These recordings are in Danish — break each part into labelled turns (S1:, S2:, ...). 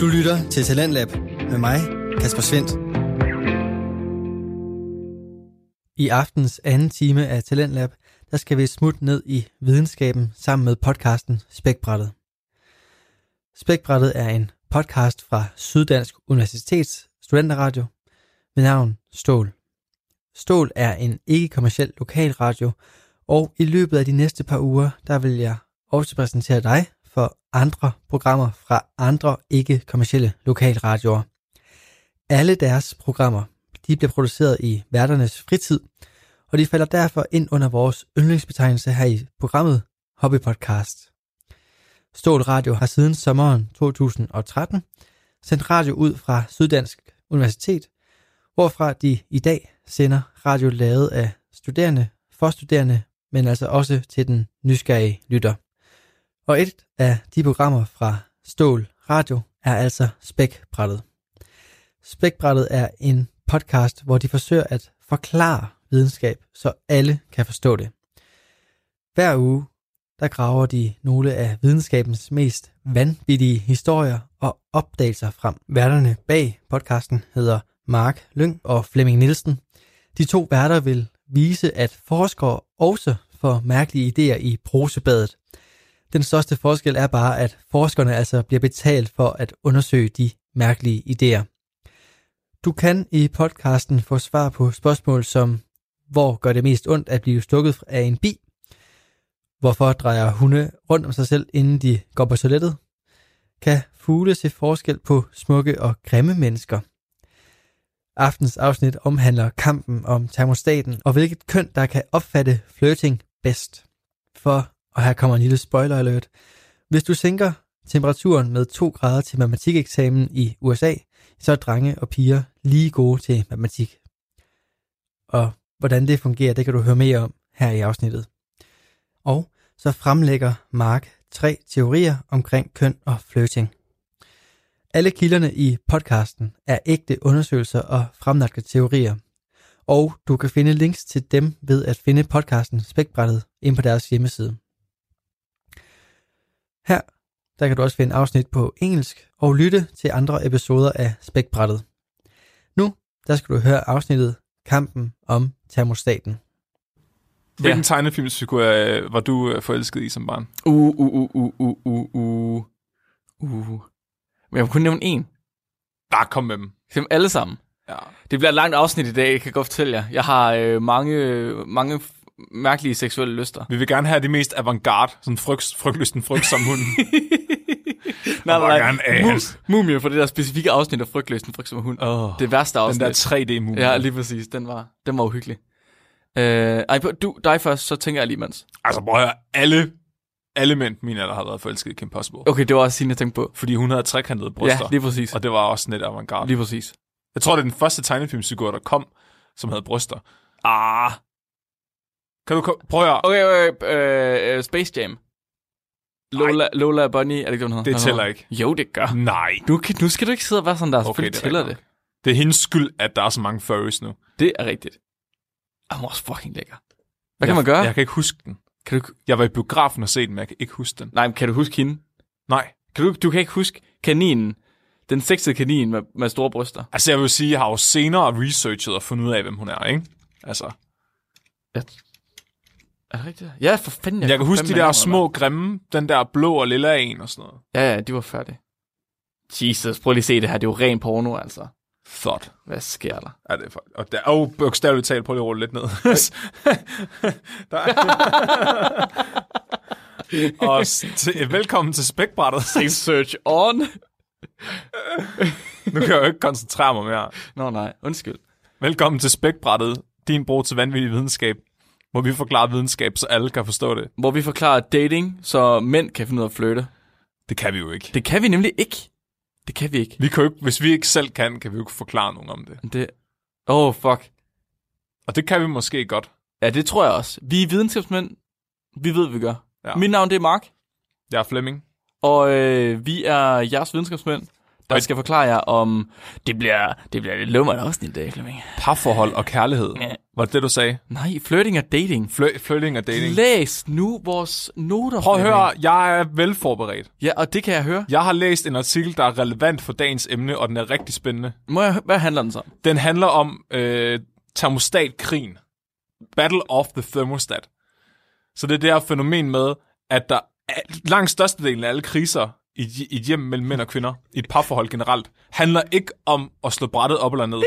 S1: Du lytter til Talentlab med mig, Kasper Svendt. I aftens anden time af Talentlab, der skal vi smutte ned i videnskaben sammen med podcasten Spækbrættet. Spækbrættet er en podcast fra Syddansk Universitets Studenterradio med navn Stål. Stål er en ikke-kommerciel lokalradio, og i løbet af de næste par uger, der vil jeg også præsentere dig for andre programmer fra andre ikke-kommercielle lokalradioer. Alle deres programmer, de bliver produceret i værternes fritid, og de falder derfor ind under vores yndlingsbetegnelse her i programmet Hobbypodcast. Stål Radio har siden sommeren 2013 sendt radio ud fra Syddansk Universitet, hvorfra de i dag sender radio lavet af studerende, for studerende, men altså også til den nysgerrige lytter. Og et af de programmer fra Stål Radio er altså Spækbrættet. Spækbrættet er en podcast, hvor de forsøger at forklare videnskab, så alle kan forstå det. Hver uge, der graver de nogle af videnskabens mest vanvittige historier og opdagelser frem. Værterne bag podcasten hedder Mark Lyng og Flemming Nielsen. De to værter vil vise, at forskere også får mærkelige idéer i prosebadet. Den største forskel er bare, at forskerne altså bliver betalt for at undersøge de mærkelige idéer. Du kan i podcasten få svar på spørgsmål som, hvor gør det mest ondt at blive stukket af en bi? Hvorfor drejer hunde rundt om sig selv, inden de går på toilettet? Kan fugle se forskel på smukke og grimme mennesker? Aftens afsnit omhandler kampen om termostaten og hvilket køn, der kan opfatte flirting bedst. For, og her kommer en lille spoiler alert, hvis du sænker temperaturen med 2 grader til matematikeksamen i USA, så er drenge og piger lige gode til matematik. Og hvordan det fungerer, det kan du høre mere om her i afsnittet. Og så fremlægger Mark tre teorier omkring køn og flirting. Alle kilderne i podcasten er ægte undersøgelser og fremlagte teorier. Og du kan finde links til dem ved at finde podcasten Spækbrættet ind på deres hjemmeside. Her der kan du også finde afsnit på engelsk og lytte til andre episoder af Spækbrættet. Nu der skal du høre afsnittet Kampen om termostaten.
S2: Hvilken
S3: Ja.
S2: ja. tegnefilmsfigur øh, var du øh, forelsket i som barn?
S3: Uh, uh, uh, uh, uh, uh, uh, uh. Men jeg må kun nævne en.
S2: Bare kom med dem.
S3: Dem alle sammen.
S2: Ja.
S3: Det bliver et langt afsnit i dag, jeg kan godt fortælle jer. Jeg har øh, mange, øh, mange f- mærkelige seksuelle lyster.
S2: Vi vil gerne have de mest avantgarde, sådan frygt, frygtlysten, frygtsom hund.
S3: nej,
S2: bare gerne ass.
S3: Mu- Mumie for det der specifikke afsnit af Frygtløsen, for eksempel hund.
S2: oh,
S3: Det værste
S2: den
S3: afsnit.
S2: der 3D-mumie.
S3: ja, lige præcis. Den var, den var uhyggelig. Øh, ej, du, dig først, så tænker jeg lige mens.
S2: Altså, prøv at høre, alle, alle mænd min alder har været forelsket i Kim Possible. Okay.
S3: Okay, det var også sin, jeg tænkte på.
S2: Fordi hun havde trekantede bryster.
S3: Ja, lige præcis.
S2: Og det var også net avantgarde.
S3: Lige præcis.
S2: Jeg tror, det er den første tegnefilmsfigur, der kom, som havde bryster.
S3: Ah.
S2: Kan du ko- prøve at...
S3: Okay, okay, øh, øh, Space Jam. Lola, Lola og Bunny, er det ikke, hvad hun hedder?
S2: Det tæller ikke.
S3: Jo, det gør.
S2: Nej.
S3: Nu, kan- nu skal du ikke sidde og være sådan der.
S2: Okay,
S3: Selvfølgelig
S2: det er
S3: Ah. Altså, tæller det.
S2: rigtigt Det er hendes skyld, at der er så mange furries nu. Hvad
S3: Det er rigtigt. Og hun er også fucking lækker. Hvad kan man gøre?
S2: Jeg kan ikke huske den.
S3: Kan du,
S2: Jeg var i biografen og se den, men jeg kan ikke huske den.
S3: nej, men kan du huske hende?
S2: Nej.
S3: Kan du, du kan ikke huske kaninen. Den sexede kanin med, med store bryster.
S2: Altså, jeg vil sige, jeg har jo senere researchet og fundet ud af, hvem hun er, ikke? Altså,
S3: Ja. Er det rigtigt? Ja, for fanden.
S2: jeg, jeg kan huske de
S3: fandme
S2: der
S3: ikke, hvor
S2: små grimme, den der blå og lilla en og sådan noget.
S3: hun er. Ja, ja, de var færdige. Jesus, prøv lige at se det her. Det er jo ren porno, altså.
S2: Thought.
S3: Hvad sker der?
S2: Ja, det er for... Og der... oh, bogstaveligt talt, prøv lige at rulle lidt ned. der og s- til, velkommen til spækbrættet.
S3: Search on.
S2: Nu kan jeg jo ikke koncentrere mig mere.
S3: Nå nej, undskyld.
S2: Velkommen til spækbrættet, din brug til vanvittig videnskab, hvor vi forklarer videnskab, så alle kan forstå det.
S3: Hvor vi forklarer dating, så mænd kan finde ud af at flytte.
S2: Det kan vi jo ikke.
S3: Det kan vi nemlig ikke. Det kan vi ikke.
S2: Vi kan jo ikke, hvis vi ikke selv kan, kan vi jo ikke forklare nogen om det.
S3: Det... Oh, fuck.
S2: Og det kan vi måske godt.
S3: Ja, det tror jeg også. Vi er videnskabsmænd. Vi ved, hvad vi gør. Ja.
S2: Ja.
S3: Mit navn det er Mark,
S2: Jeg er Flemming.
S3: og øh, vi er jeres videnskabsmænd. der skal forklare jer om... Det bliver, det bliver lidt lummert afsnit i dag, Flemming.
S2: Parforhold og kærlighed.
S3: Ja.
S2: Var det det, du sagde?
S3: Nej, flirting og dating.
S2: Flø- flirting og dating.
S3: Læs nu vores noter,
S2: Prøv at
S3: Flemming.
S2: høre, jeg er velforberedt.
S3: Ja, og det kan jeg høre.
S2: Jeg har læst en artikel, der er relevant for dagens emne, og den er rigtig spændende.
S3: Må jeg, hvad handler den så om?
S2: Den handler om øh, termostatkrigen. Battle of the thermostat. Så det er det her fænomen med, at der er- langt størstedelen af alle kriser i, et hj- i et hjem mellem mænd og kvinder, i et parforhold generelt, handler ikke om at slå brættet op eller ned.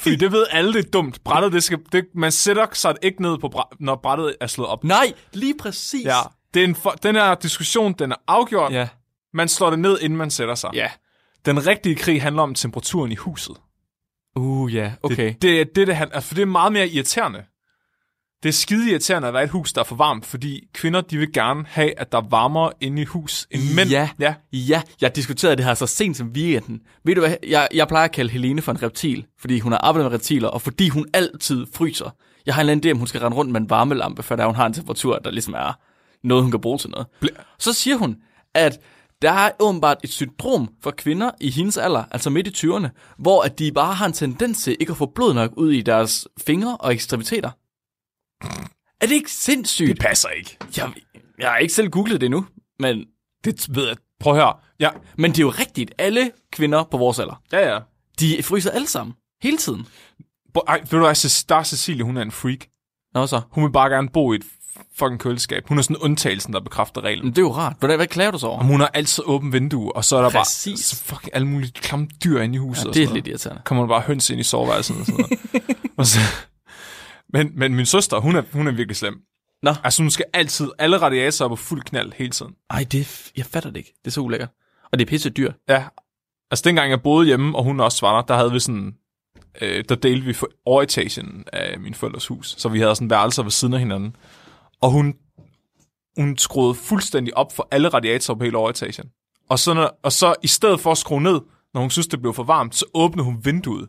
S2: Fordi det ved alle, det er dumt. Brættet, det skal, det, man sætter sig ikke ned, på bræ, når brættet er slået op.
S3: Nej, lige præcis.
S2: Ja. Det er en for, den her diskussion, den er afgjort.
S3: Ja.
S2: Man slår det ned, inden man sætter sig.
S3: Ja.
S2: Den rigtige krig handler om temperaturen i huset.
S3: Uh, ja. Okay.
S2: Det, det, er det, det han, altså, for det er meget mere irriterende. Det er skide irriterende at være i et hus, der er for varmt, fordi kvinder, de vil gerne have, at der er varmere inde i hus end mænd.
S3: Ja.
S2: ja.
S3: Ja, jeg diskuterede det her så sent som weekenden. Ved du hvad, jeg, jeg plejer at kalde Helene for en reptil, fordi hun har arbejdet med reptiler, og fordi hun altid fryser. Jeg har en eller anden idé, om hun skal rende rundt med en varmelampe, før der hun har en temperatur, der ligesom er noget, hun kan bruge til noget. Så siger hun, at der er åbenbart et syndrom for kvinder i hendes alder, altså midt i 20'erne, hvor at de bare har en tendens til ikke at få blod nok ud i deres fingre og ekstremiteter. Er det ikke sindssygt?
S2: Det passer ikke.
S3: Jeg, jeg har ikke selv googlet det endnu, men
S2: Det ved jeg. Prøv at høre. Ja,
S3: men det er jo rigtigt. Alle kvinder på vores alder,
S2: ja, ja.
S3: de fryser alle sammen. Hele tiden.
S2: Bo, ej, ved du hvad, Ce- der er Cecilie, hun er en freak.
S3: Nå så.
S2: Hun vil bare gerne bo i et fucking køleskab. Hun er sådan undtagelsen, der bekræfter reglen.
S3: Men det er jo rart. Hvordan, hvad klager du så over?
S2: Om hun har altid åbent vindue, og så er der bare
S3: Præcis.
S2: så fucking alle mulige klamme dyr inde i huset.
S3: Ja,
S2: og
S3: det
S2: sådan
S3: er
S2: noget.
S3: lidt irriterende.
S2: kommer der bare høns ind i soveværelset og sådan noget. og så, men, men min søster, hun er, hun er virkelig slem.
S3: Nå.
S2: Altså, hun skal altid, alle radiatorer er på fuld knald hele tiden.
S3: Ej, det, er f- jeg fatter det ikke. Det er så ulækkert. Og det er pisse dyrt.
S2: Ja. Altså, dengang jeg boede hjemme, og hun også var der, der havde vi sådan... Øh, der delte vi for overetagen af min forældres hus, så vi havde sådan værelser ved siden af hinanden. Og hun, hun skruede fuldstændig op for alle radiatorer på hele overetagen. Og så, når, og så i stedet for at skrue ned, når hun synes, det blev for varmt, så åbnede hun vinduet.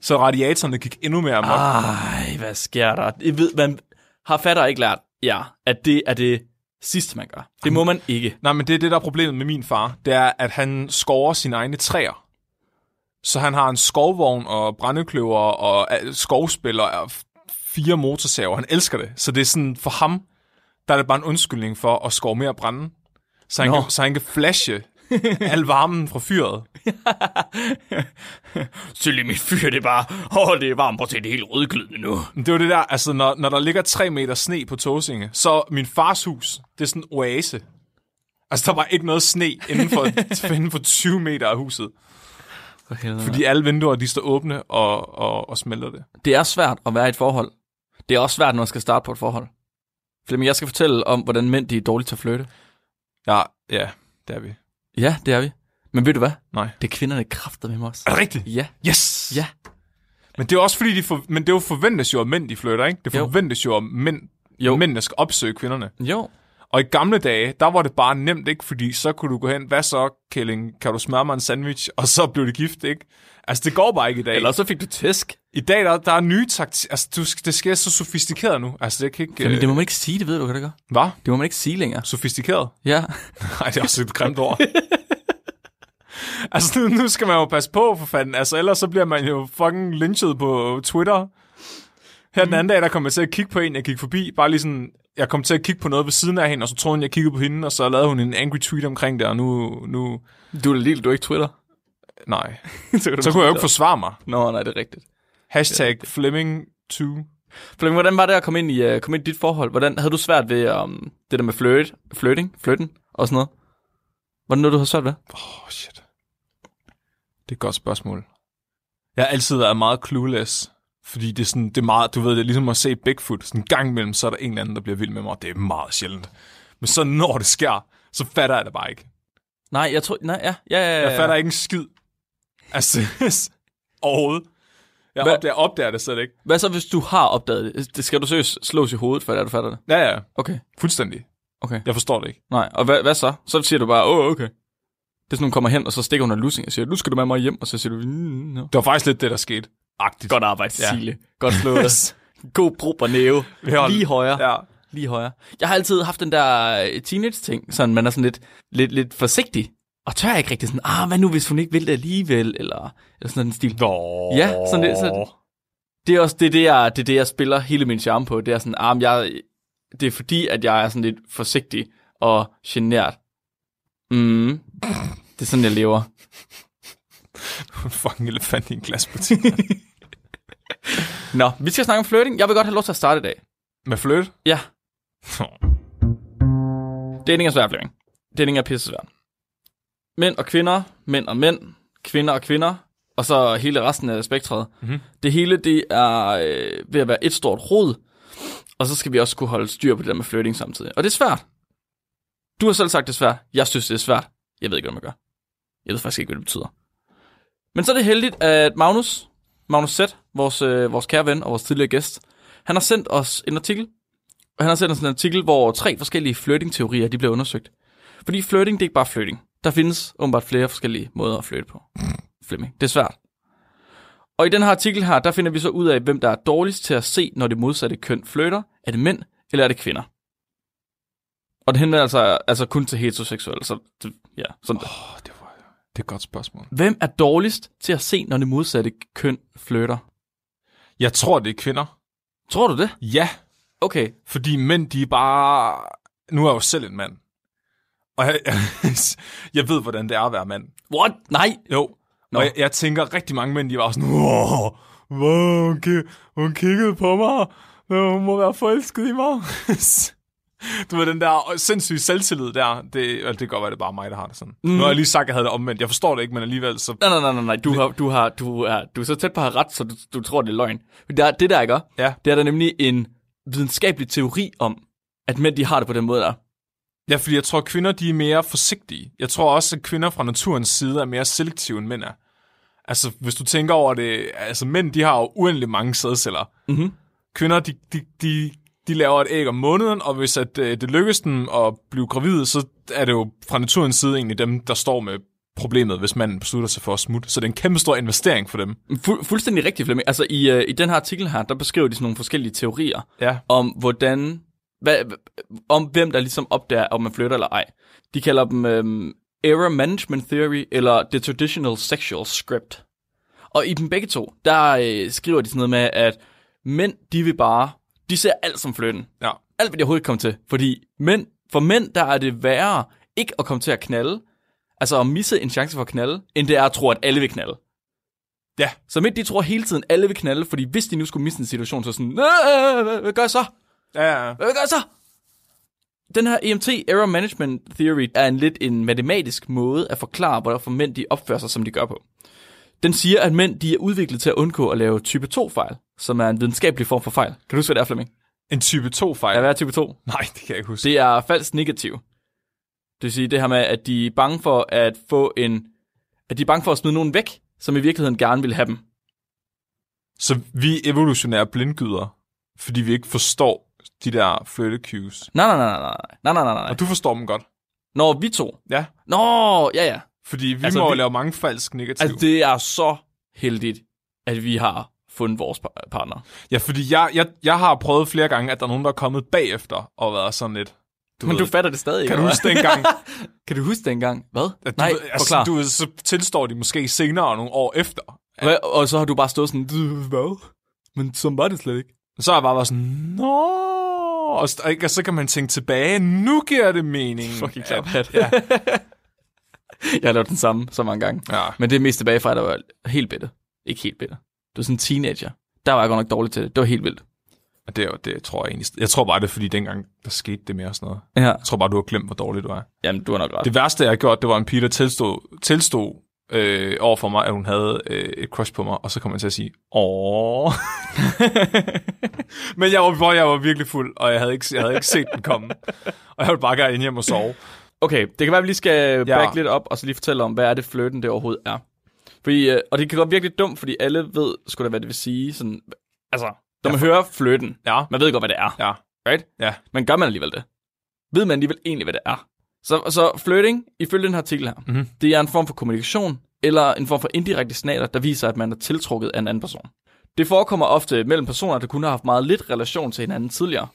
S2: Så radiatorerne gik endnu mere amok.
S3: Ej, hvad sker der? Jeg ved, man har fatter ikke lært, ja, at det er det sidste, man gør. Det må man ikke.
S2: Nej, men det er det, der er problemet med min far. Det er, at han skover sine egne træer. Så han har en skovvogn og brændekløver og øh, skovspiller og f- fire motorsaver. Han elsker det. Så det er sådan, for ham, der er det bare en undskyldning for at skove mere brænde. Så han,
S3: Nå.
S2: kan, så han kan flashe al varmen fra fyret.
S3: Selv i mit fyr, det er bare, åh, oh, det er varmt, prøv at se, det er helt rødglødende nu.
S2: Men det er jo det der, altså når, når der ligger 3 meter sne på Tåsinge, så min fars hus, det er sådan en oase. Altså der var ikke noget sne inden for, inden for 20 meter af huset.
S3: For helvede.
S2: Fordi alle vinduer, de står åbne og, og, og smelter det.
S3: Det er svært at være i et forhold. Det er også svært, når man skal starte på et forhold. Flemming, jeg skal fortælle om, hvordan mænd de er dårlige til at flytte.
S2: Ja, ja, det er vi.
S3: Ja, det er vi. Men ved du hvad?
S2: Nej.
S3: Det er kvinderne kræfter med os.
S2: Er det rigtigt?
S3: Ja.
S2: Yes!
S3: Ja.
S2: Men det er også fordi, de for, men det er jo forventes jo, at mænd de flytter, ikke? Det
S3: Jo.
S2: forventes jo, at mænd,
S3: Jo.
S2: jo. mændene skal opsøge kvinderne.
S3: Jo.
S2: Og i gamle dage, der var det bare nemt, ikke? Fordi så kunne du gå hen, hvad så, Kælling, kan du smøre mig en sandwich? Og så blev det gift, ikke? Altså, det går bare ikke i dag.
S3: Eller så fik du tæsk.
S2: I dag, der, der er nye taktikker. Altså, du, skal- det sker så sofistikeret nu. Altså, det kan ikke...
S3: Jamen, det må man ikke sige, det ved du, kan det gøre?
S2: Hvad?
S3: Det må man ikke sige længere.
S2: Sofistikeret?
S3: Ja.
S2: Nej, det er også et grimt ord. altså, nu- nu skal man jo passe på, for fanden. Altså, ellers så bliver man jo fucking lynchet på Twitter. Her den anden dag, der kom jeg til at kigge på en, jeg gik forbi. Bare lige sådan, jeg kom til at kigge på noget ved siden af hende, og så troede hun, jeg kiggede på hende, og så lavede hun en angry tweet omkring det, og nu... nu
S3: Du er lille, du er ikke Twitter.
S2: nej.
S3: så, kan
S2: Så kunne jeg jo ikke forsvare mig.
S3: Nå, nej, det er rigtigt.
S2: Hashtag Flemming2.
S3: Flemming, hvordan var det at komme ind i, uh, komme ind i dit forhold? Hvordan havde du svært ved um, det der med flirt, flirting, flytten og sådan noget? Var det noget, du havde svært ved?
S2: Åh, oh, shit. Det er et godt spørgsmål. Jeg har altid været meget clueless, fordi det er sådan, det er meget, du ved, det er ligesom at se Bigfoot. Sådan en gang imellem, så er der en eller anden, der bliver vild med mig, og det er meget sjældent. Men så når det sker, så fatter jeg det bare ikke.
S3: Nej, jeg tror... Nej, ja, ja, ja, ja.
S2: Jeg fatter ikke en skid. Altså, overhovedet. Jeg
S3: Hvad-
S2: opdager, opdager det slet ikke.
S3: Hvad så, hvis du har opdaget det? det? Skal du seriøst slås i hovedet, før det er, du fatter det?
S2: Ja, ja,
S3: Okay,
S2: fuldstændig.
S3: okay.
S2: Jeg forstår det ikke.
S3: Nej, og hvad, hvad så? Så siger du bare, åh, oh, okay. Det er sådan, hun kommer hen, og så stikker hun en lussing og siger, nu skal du med mig hjem, og så siger du, mm, no.
S2: Det var faktisk lidt det, der skete. Agtigt.
S3: Godt arbejde,
S2: Ja.
S3: Cecilie. Godt slået. God brug og næve.
S2: Ja.
S3: Lige højere.
S2: Ja.
S3: Lige højere. Jeg har altid haft den der øh, teenage-ting, sådan man er sådan lidt, lidt, lidt forsigtig. Og tør jeg ikke rigtig sådan, ah, hvad nu hvis hun ikke vil det alligevel, eller, eller sådan en stil.
S2: Nå.
S3: Ja, sådan lidt- sådan- Det er også det, er det, jeg, det, er det, jeg spiller hele min charme på. Det er sådan, ah, men jeg, det er fordi, at jeg er sådan lidt forsigtig og genert. Mm. Det er sådan, jeg lever.
S2: en fucking elefant i en glasbutik.
S3: Nå, vi skal snakke om flirting. Jeg vil godt have lov til at starte i dag.
S2: Med fløjt?
S3: Ja. Dating er svært, Flemming. Dating er pisse svært. Mænd og kvinder, mænd og mænd, kvinder og kvinder, og så hele resten af spektret.
S2: Mhm.
S3: Det hele, det er øh, ved at være et stort rod, og så skal vi også kunne holde styr på det der med flirting samtidig. Og det er svært. Du har selv sagt, det er svært. Jeg synes, det er svært. Jeg ved ikke, hvad man gør. Jeg ved faktisk ikke, hvad det betyder. Men så er det heldigt, at Magnus, Magnus Z, vores, øh, vores kære ven og vores tidligere gæst, han har sendt os en artikel, og han har sendt os en artikel, hvor tre forskellige flirting-teorier de bliver undersøgt. Fordi flirting, det er ikke bare flirting. Der findes åbenbart flere forskellige måder at flirte på. Flemming, det er svært. Og i den her artikel her, der finder vi så ud af, hvem der er dårligst til at se, når det modsatte køn flirter. Er det mænd, eller er det kvinder? Og det henvender altså, altså kun til heteroseksuelle, så det- ja, sådan
S2: Åh, oh, det var det er et godt spørgsmål.
S3: Hvem er dårligst til at se, når det modsatte køn flytter?
S2: Jeg tror, det er kvinder.
S3: Tror du det?
S2: Ja,
S3: Okay.
S2: fordi mænd, de er bare... Nu er jeg jo selv en mand. Og jeg, jeg, jeg ved, hvordan det er at være mand.
S3: What? Nej.
S2: Jo.
S3: Nå.
S2: Og jeg, jeg tænker, rigtig mange mænd, de var sådan, wow, wow hun, ki- hun kiggede på mig, Nå, hun må være forelsket i mig. du ved, den der sindssyge selvtillid der, det, altså, det kan godt være, det er bare mig, der har det sådan. Mm. Nu har jeg lige sagt, at jeg havde det omvendt. Jeg forstår det ikke, men alligevel så...
S3: Nej, nej, nej, nej, nej. Du, har, du, har, du, er, du er så tæt på at have ret, så du, du tror, det er løgn. Men Der, det der, ikke?
S2: Ja.
S3: Det er der nemlig en videnskabelig teori om, at mænd, de har det på den måde der.
S2: Ja, fordi jeg tror, kvinder de er mere forsigtige. Jeg tror også, at kvinder fra naturens side er mere selektive, end mænd er. Altså, hvis du tænker over det, altså mænd, de har jo uendelig mange sædceller.
S3: Mhm.
S2: Kvinder, de, de, de, de laver et æg om måneden, og hvis at, øh, det lykkes dem at blive gravide, så er det jo fra naturens side egentlig dem, der står med problemet, hvis manden beslutter sig for at smutte. Så det er en kæmpe stor investering for dem.
S3: Fu- fuldstændig rigtigt, Flemming. Altså, i, øh, i den her artikel her, der beskriver de sådan nogle forskellige teorier.
S2: Ja.
S3: om hvordan, hvad, om hvem der ligesom opdager, om man flytter eller ej. De kalder dem øhm, Error Management Theory, eller The Traditional Sexual Script. Og i dem begge to, der øh, skriver de sådan noget med, at mænd, de vil bare, de ser alt som flytten.
S2: Ja.
S3: Alt, hvad de overhovedet kan komme til. Fordi mænd, for mænd, der er det værre ikke at komme til at knalde, altså at misse en chance for at knalde, end det er at tro, at alle vil knalde.
S2: Ja.
S3: Så mænd, de tror hele tiden, alle vil knalde, fordi hvis de nu skulle misse en situation, så er sådan, "Øh, øh, hvad, hvad gør jeg så?
S2: Ja, ja.
S3: Hvad gør jeg så? Den her EMT, Error Management Theory, er en lidt en matematisk måde at forklare, hvorfor mænd de opfører sig, som de gør på. Den siger, at mænd de er udviklet til at undgå at lave type 2-fejl, som er en videnskabelig form for fejl. Kan du huske, hvad det er, Flemming?
S2: En type 2-fejl.
S3: Ja, hvad er type 2?
S2: Nej, det kan jeg ikke huske.
S3: Det er falsk negativ. Det vil sige det her med, at de er bange for at få en... At de er bange for at smide nogen væk, som i virkeligheden gerne vil have dem.
S2: Så vi evolutionære blindgyder, fordi vi ikke forstår de der flytte cues.
S3: Nej, nej, nej, nej, nej, nej, nej, nej, nej.
S2: Og du forstår dem godt.
S3: Når vi to.
S2: Ja.
S3: Nå, ja, ja.
S2: Fordi vi
S3: Altså,
S2: altså, må
S3: vi-
S2: vi... lave mange falsk negativ.
S3: Altså,
S2: Altså, det...
S3: det er så heldigt, at vi har fundet vores par- partner.
S2: Ja, fordi jeg, jeg, jeg har prøvet flere gange, at der er nogen, der er kommet bagefter og været sådan lidt... Du
S3: Men
S2: ved,
S3: du fatter det stadig,
S2: kan
S3: ikke,
S2: du huske dengang?
S3: Kan du huske dengang? Hvad?
S2: At du,
S3: Nej,
S2: ved- altså,
S3: forklar.
S2: du, ved, så tilstår de måske senere nogle år efter.
S3: Hvad? Og så har du bare stået sådan, "Du, hvad? Men så var det slet ikke.
S2: Så har jeg bare været sådan, nå... Og, st- og, ikke- og så kan man tænke tilbage, nu giver det mening.
S3: Fucking
S2: at-
S3: klap hat. Ja. jeg har lavet den samme så mange gange.
S2: Ja.
S3: Men det er mest tilbage fra, at jeg var helt bitte. Ikke helt bitte. Du var sådan en teenager. Der var jeg godt nok dårlig til det. Det var helt vildt.
S2: Og det, er jo- det tror jeg egentlig... Jeg tror bare, det er fordi dengang, der skete det mere og sådan noget.
S3: Ja.
S2: Jeg tror bare, du har glemt, hvor dårlig du er.
S3: Jamen, du har nok ret.
S2: Det værste, jeg har gjort, det var en pige, der tilstod, tilstod øh, over for mig, at hun havde øh, et crush på mig, og så kom jeg til at sige, åh. Men jeg var, hvor jeg var virkelig fuld, og jeg havde ikke, jeg havde ikke set den komme. Og jeg ville bare gerne ind hjem og sove.
S3: Okay, det kan være, at vi lige skal
S2: Ja.
S3: back lidt op, og så lige fortælle om, hvad er det flirten det overhovedet er. Fordi, øh, og det kan godt virke lidt dumt, fordi alle ved, skulle da, hvad det vil sige. Sådan, altså, når man hører flirten,
S2: Ja,
S3: man ved godt, hvad det er.
S2: ja,
S3: Right?
S2: ja.
S3: Men gør man alligevel det? Ved man alligevel egentlig, hvad det er? Så, så flirting, ifølge den her artikel her,
S2: Mhm.
S3: det er en form for kommunikation, eller en form for indirekte signaler, der viser, at man er tiltrukket af en anden person. Det forekommer ofte mellem personer, der kun har haft meget lidt relation til hinanden tidligere.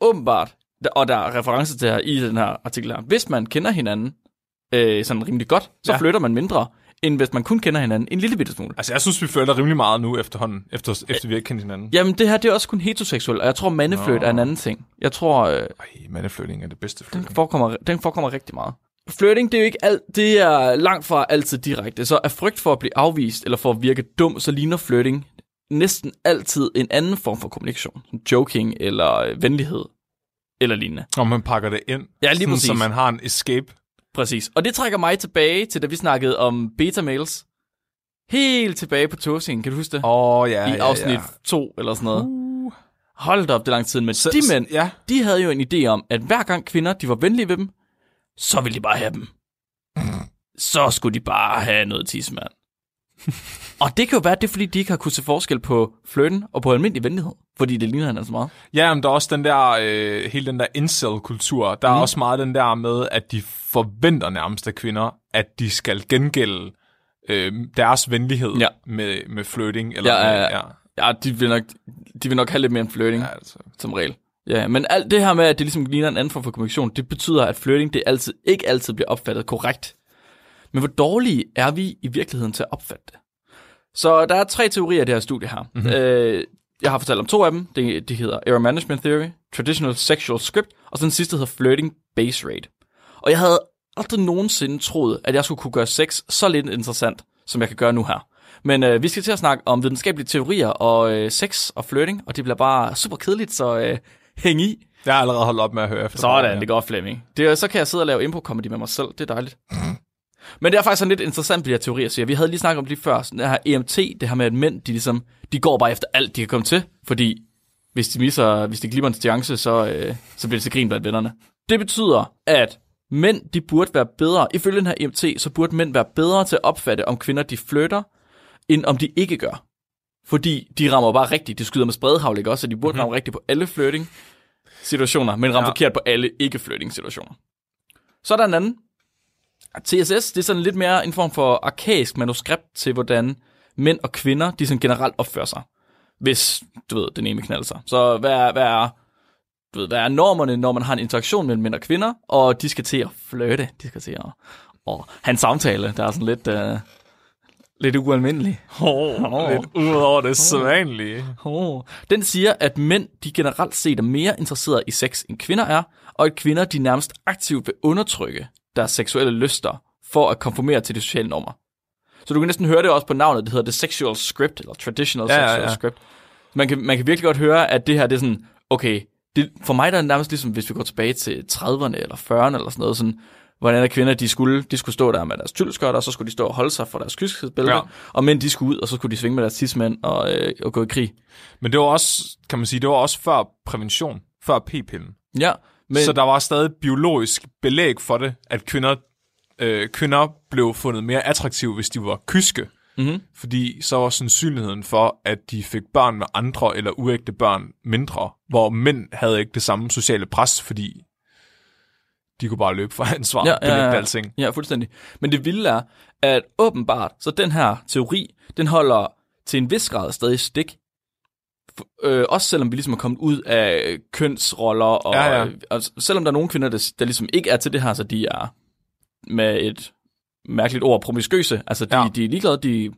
S3: Åbenbart, der- og der er reference til her i den her artikel her, hvis man kender hinanden, øh, sådan rimelig godt, så
S2: Ja.
S3: ja. flytter man mindre, end hvis man kun kender hinanden en lille bitte smule.
S2: Altså, jeg synes, vi flytter rimelig meget nu efterhånden, efter, efter vi har kendt hinanden.
S3: Jamen, det her det er også kun heteroseksuelt, og jeg tror, mandefløjt
S2: Nå.
S3: er en anden ting. Jeg tror, øh,
S2: Ej, mandeflytning er det bedste
S3: den,
S2: flytning.
S3: forekommer, den forekommer rigtig meget. Flirting, det er jo ikke alt, det er langt fra altid direkte. Så af frygt for at blive afvist, eller for at virke dum, så ligner flirting næsten altid en anden form for kommunikation. Som joking, eller øh, venlighed, eller lignende.
S2: Og man pakker det ind,
S3: Ja, lige
S2: sådan,
S3: præcis.
S2: så man har en escape.
S3: Præcis. Og det trækker mig tilbage til, da vi snakkede om beta-mails. Helt tilbage på togsingen, kan du huske det?
S2: Åh, oh, ja,
S3: I
S2: ja,
S3: afsnit
S2: ja.
S3: 2 eller sådan noget. Hold da op, det er lang tid. Men
S2: Så,
S3: de mænd,
S2: Ja,
S3: de havde jo en idé om, at hver gang kvinder de var venlige ved dem, så ville de bare have dem. Så skulle de bare have noget tidsmand. og det kan jo være, at det er, fordi de ikke har kunnet se forskel på flirten og på almindelig venlighed. Fordi det ligner hinanden så meget.
S2: ja men der er også den der, øh, hele den der incel-kultur. Der er
S3: Mhm.
S2: også meget den der med, at de forventer nærmest af kvinder, at de skal gengælde øh, deres venlighed
S3: Ja.
S2: med, med flirting. Eller
S3: Ja, ja, ja.
S2: Med, ja.
S3: Ja, de vil nok, de vil nok have lidt mere end flirting.
S2: Ja, altså.
S3: som regel. Ja, men alt det her med, at det ligesom ligner en anden form for kommunikation, det betyder, at flirting det altid, ikke altid bliver opfattet korrekt. Men hvor dårlige er vi i virkeligheden til at opfatte det? Så der er tre teorier i det her studie her. Mm-hmm. Øh, jeg har fortalt om to af dem. Det, det hedder Error Management Theory, Traditional Sexual Script, og så den sidste hedder Flirting Base Rate. Og jeg havde aldrig nogensinde troet, at jeg skulle kunne gøre sex så lidt interessant, som jeg kan gøre nu her. Men øh, vi skal til at snakke om videnskabelige teorier og øh, sex og flirting, og det bliver bare super kedeligt, så øh, hæng i.
S2: Jeg har allerede holdt op med at høre efter.
S3: Sådan, det går Flemming. Det, er- så kan jeg sidde og lave impro-comedy med mig selv, det er dejligt. Men det er faktisk sådan lidt interessant, de her teorier siger. Vi havde lige snakket om det lige før, sådan det her EMT, det her med, at mænd, de, ligesom, de går bare efter alt, de kan komme til, fordi hvis de misser, hvis de glimmer en chance, så, øh, så bliver det til grin blandt vennerne. Det betyder, at mænd, de burde være bedre, ifølge den her EMT, så burde mænd være bedre til at opfatte, om kvinder, de flytter, end om de ikke gør. Fordi de rammer bare rigtigt. De skyder med spredehavl, ikke også? Så de burde mm-hmm. ramme rigtigt på alle flirting situationer, men rammer
S2: Ja.
S3: ja. forkert på alle ikke flirting situationer. Så er der en anden. TSS, det er sådan lidt mere en form for arkaisk manuskript til, hvordan mænd og kvinder, de sådan generelt opfører sig. Hvis, du ved, den ene knalder sig. Så hvad er, hvad er du ved, hvad er normerne, når man har en interaktion mellem mænd og kvinder, og de skal til at flirte, de skal til at... Og hans samtale, der er sådan lidt, øh, lidt ualmindelig.
S2: Oh, lidt ud over det sædvanlige.
S3: Oh. Den siger, at mænd de generelt set er mere interesserede i sex, end kvinder er, og at kvinder de nærmest aktivt vil undertrykke deres seksuelle lyster for at konformere til de sociale normer. Så du kan næsten høre det også på navnet, det hedder The Sexual Script, eller Traditional
S2: Ja, ja,
S3: Sexual
S2: ja.
S3: Script. Man kan, man kan virkelig godt høre, at det her det er sådan, okay, det, for mig der er det nærmest ligesom, hvis vi går tilbage til 30'erne eller 40'erne eller sådan noget, sådan, hvordan er kvinder, de skulle, de skulle stå der med deres tylskørter, og så skulle de stå og holde sig for deres kyskhedsbælte,
S2: Ja.
S3: ja. og mænd, de skulle ud, og så skulle de svinge med deres tidsmænd og, øh, og gå i krig.
S2: Men det var også, kan man sige, det var også før prævention, før p-pillen.
S3: Ja, men,
S2: Så der var stadig biologisk belæg for det, at kvinder, øh, kvinder blev fundet mere attraktive, hvis de var kyske.
S3: Mhm.
S2: Fordi så var sandsynligheden for, at de fik børn med andre eller uægte børn mindre, hvor mænd havde ikke det samme sociale pres, fordi de kunne bare løbe fra ansvar ja, ja, ja. alting.
S3: ja, fuldstændig. Men det vilde er, at åbenbart, så den her teori, den holder til en vis grad stadig stik. F- øh, også selvom vi ligesom er kommet ud af kønsroller, og,
S2: Ja, ja.
S3: og s- selvom der er nogle kvinder, der, s- der ligesom ikke er til det her, så de er med et mærkeligt ord, promiskøse, altså de,
S2: Ja.
S3: ja. de er ligeglade, de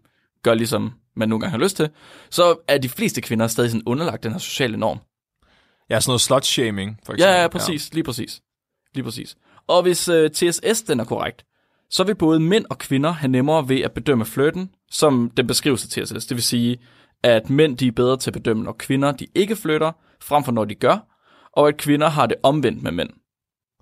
S3: gør ligesom man nogle gange har lyst til, så er de fleste kvinder stadig sådan underlagt den her sociale norm.
S2: Ja, sådan noget slut-shaming, for eksempel.
S3: Ja, ja, præcis, ja. lige præcis. Lige præcis. Og hvis øh, TSS den er korrekt, så vil både mænd og kvinder have nemmere ved at bedømme flirten, som den beskrives af TSS. Det vil sige, at mænd de er bedre til at bedømme, når kvinder de ikke flytter, frem for når de gør, og at kvinder har det omvendt med mænd.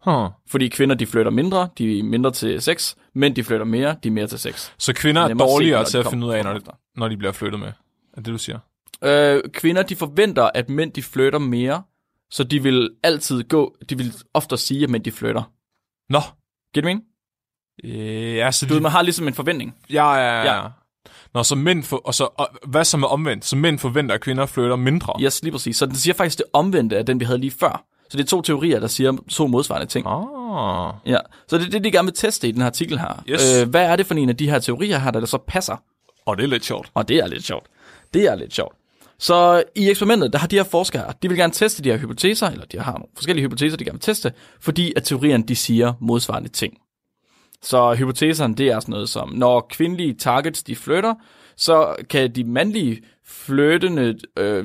S2: Ja. Huh.
S3: Fordi kvinder de flytter mindre, de er mindre til sex, mænd de flytter mere, de er mere til sex.
S2: Så kvinder er
S3: Nemmere at se,
S2: dårligere
S3: når
S2: til
S3: de
S2: at
S3: kommer
S2: finde ud af, når de,
S3: forefter.
S2: når de bliver flyttet med. Er det, du siger?
S3: Øh, kvinder, de forventer, at mænd, de flytter mere, så de vil altid gå, de vil ofte sige, at mænd, de flytter.
S2: Nå.
S3: Giver det mening?
S2: Øh, Ja, så
S3: Du ved,
S2: de,
S3: man har ligesom en forventning.
S2: ja, ja, ja, ja.
S3: Ja.
S2: Nå, så mænd for, og så, og, hvad så med omvendt? Så mænd forventer, at kvinder flytter mindre.
S3: Yes, lige præcis. Så den siger faktisk det omvendte af den, vi havde lige før. Så det er to teorier, der siger to modsvarende ting.
S2: Ah.
S3: Ja. Så det er det, de gerne vil teste i den her artikel her.
S2: Yes.
S3: Øh, hvad er det for en af de her teorier her, der, der så passer?
S2: Og det er lidt sjovt.
S3: Og det er lidt sjovt. Det er lidt sjovt. Så i eksperimentet, der har de her forskere, de vil gerne teste de her hypoteser, eller de har nogle forskellige hypoteser, de gerne vil teste, fordi at teorierne, de siger modsvarende ting. Så hypoteserne, det er sådan noget som, når kvindelige targets, de flytter, så kan de mandlige flyttende øh,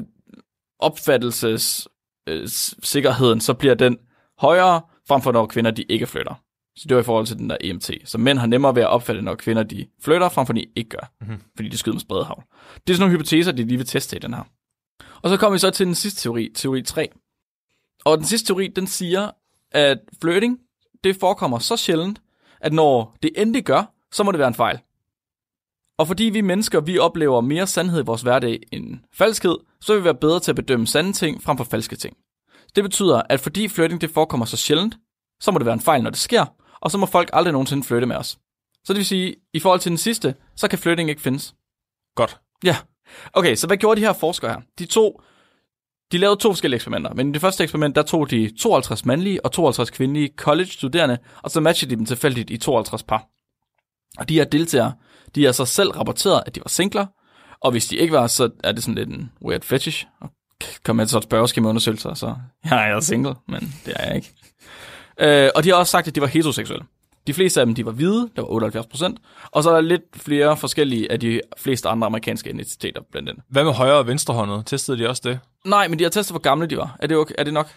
S3: opfattelses øh, s- sikkerheden, så bliver den højere, frem for når kvinder, de ikke flytter. Så det var i forhold til den der EMT. Så mænd har nemmere ved at opfatte, når kvinder, de flytter, frem for de ikke gør. Mm-hmm. Fordi de skyder med spredhavn. Det er sådan nogle hypoteser, de lige vil teste i den her. Og så kommer vi så til den sidste teori, teori 3. Og den sidste teori, den siger, at flirting, det forekommer så sjældent, at når det endelig gør, så må det være en fejl. Og fordi vi mennesker, vi oplever mere sandhed i vores hverdag end falskhed, så vil vi være bedre til at bedømme sande ting frem for falske ting. Det betyder, at fordi flirting det forekommer så sjældent, så må det være en fejl, når det sker, og så må folk aldrig nogensinde flytte med os. Så det vil sige, i forhold til den sidste, så kan flirting ikke findes.
S2: Godt.
S3: Ja. Okay, så hvad gjorde de her forskere her? De to, de lavede to forskellige eksperimenter, men i det første eksperiment, der tog de 52 mandlige og 52 kvindelige college-studerende, og så matchede de dem tilfældigt i 52 par. Og de her deltagere, de har så selv rapporteret, at de var singler, og hvis de ikke var, så er det sådan lidt en weird fetish. Og kom med til sådan et spørgeskemaundersøgelser, så ja, jeg er single, men det er jeg ikke. Øh, og de har også sagt, at de var heteroseksuelle. De fleste af dem, de var hvide, der var 78 procent, og så er der lidt flere forskellige af de fleste andre amerikanske etniciteter blandt andet.
S2: Hvad med højre og venstrehåndet? Testede de også det?
S3: Nej, men de har testet, hvor gamle de var. Er det, okay? er det nok?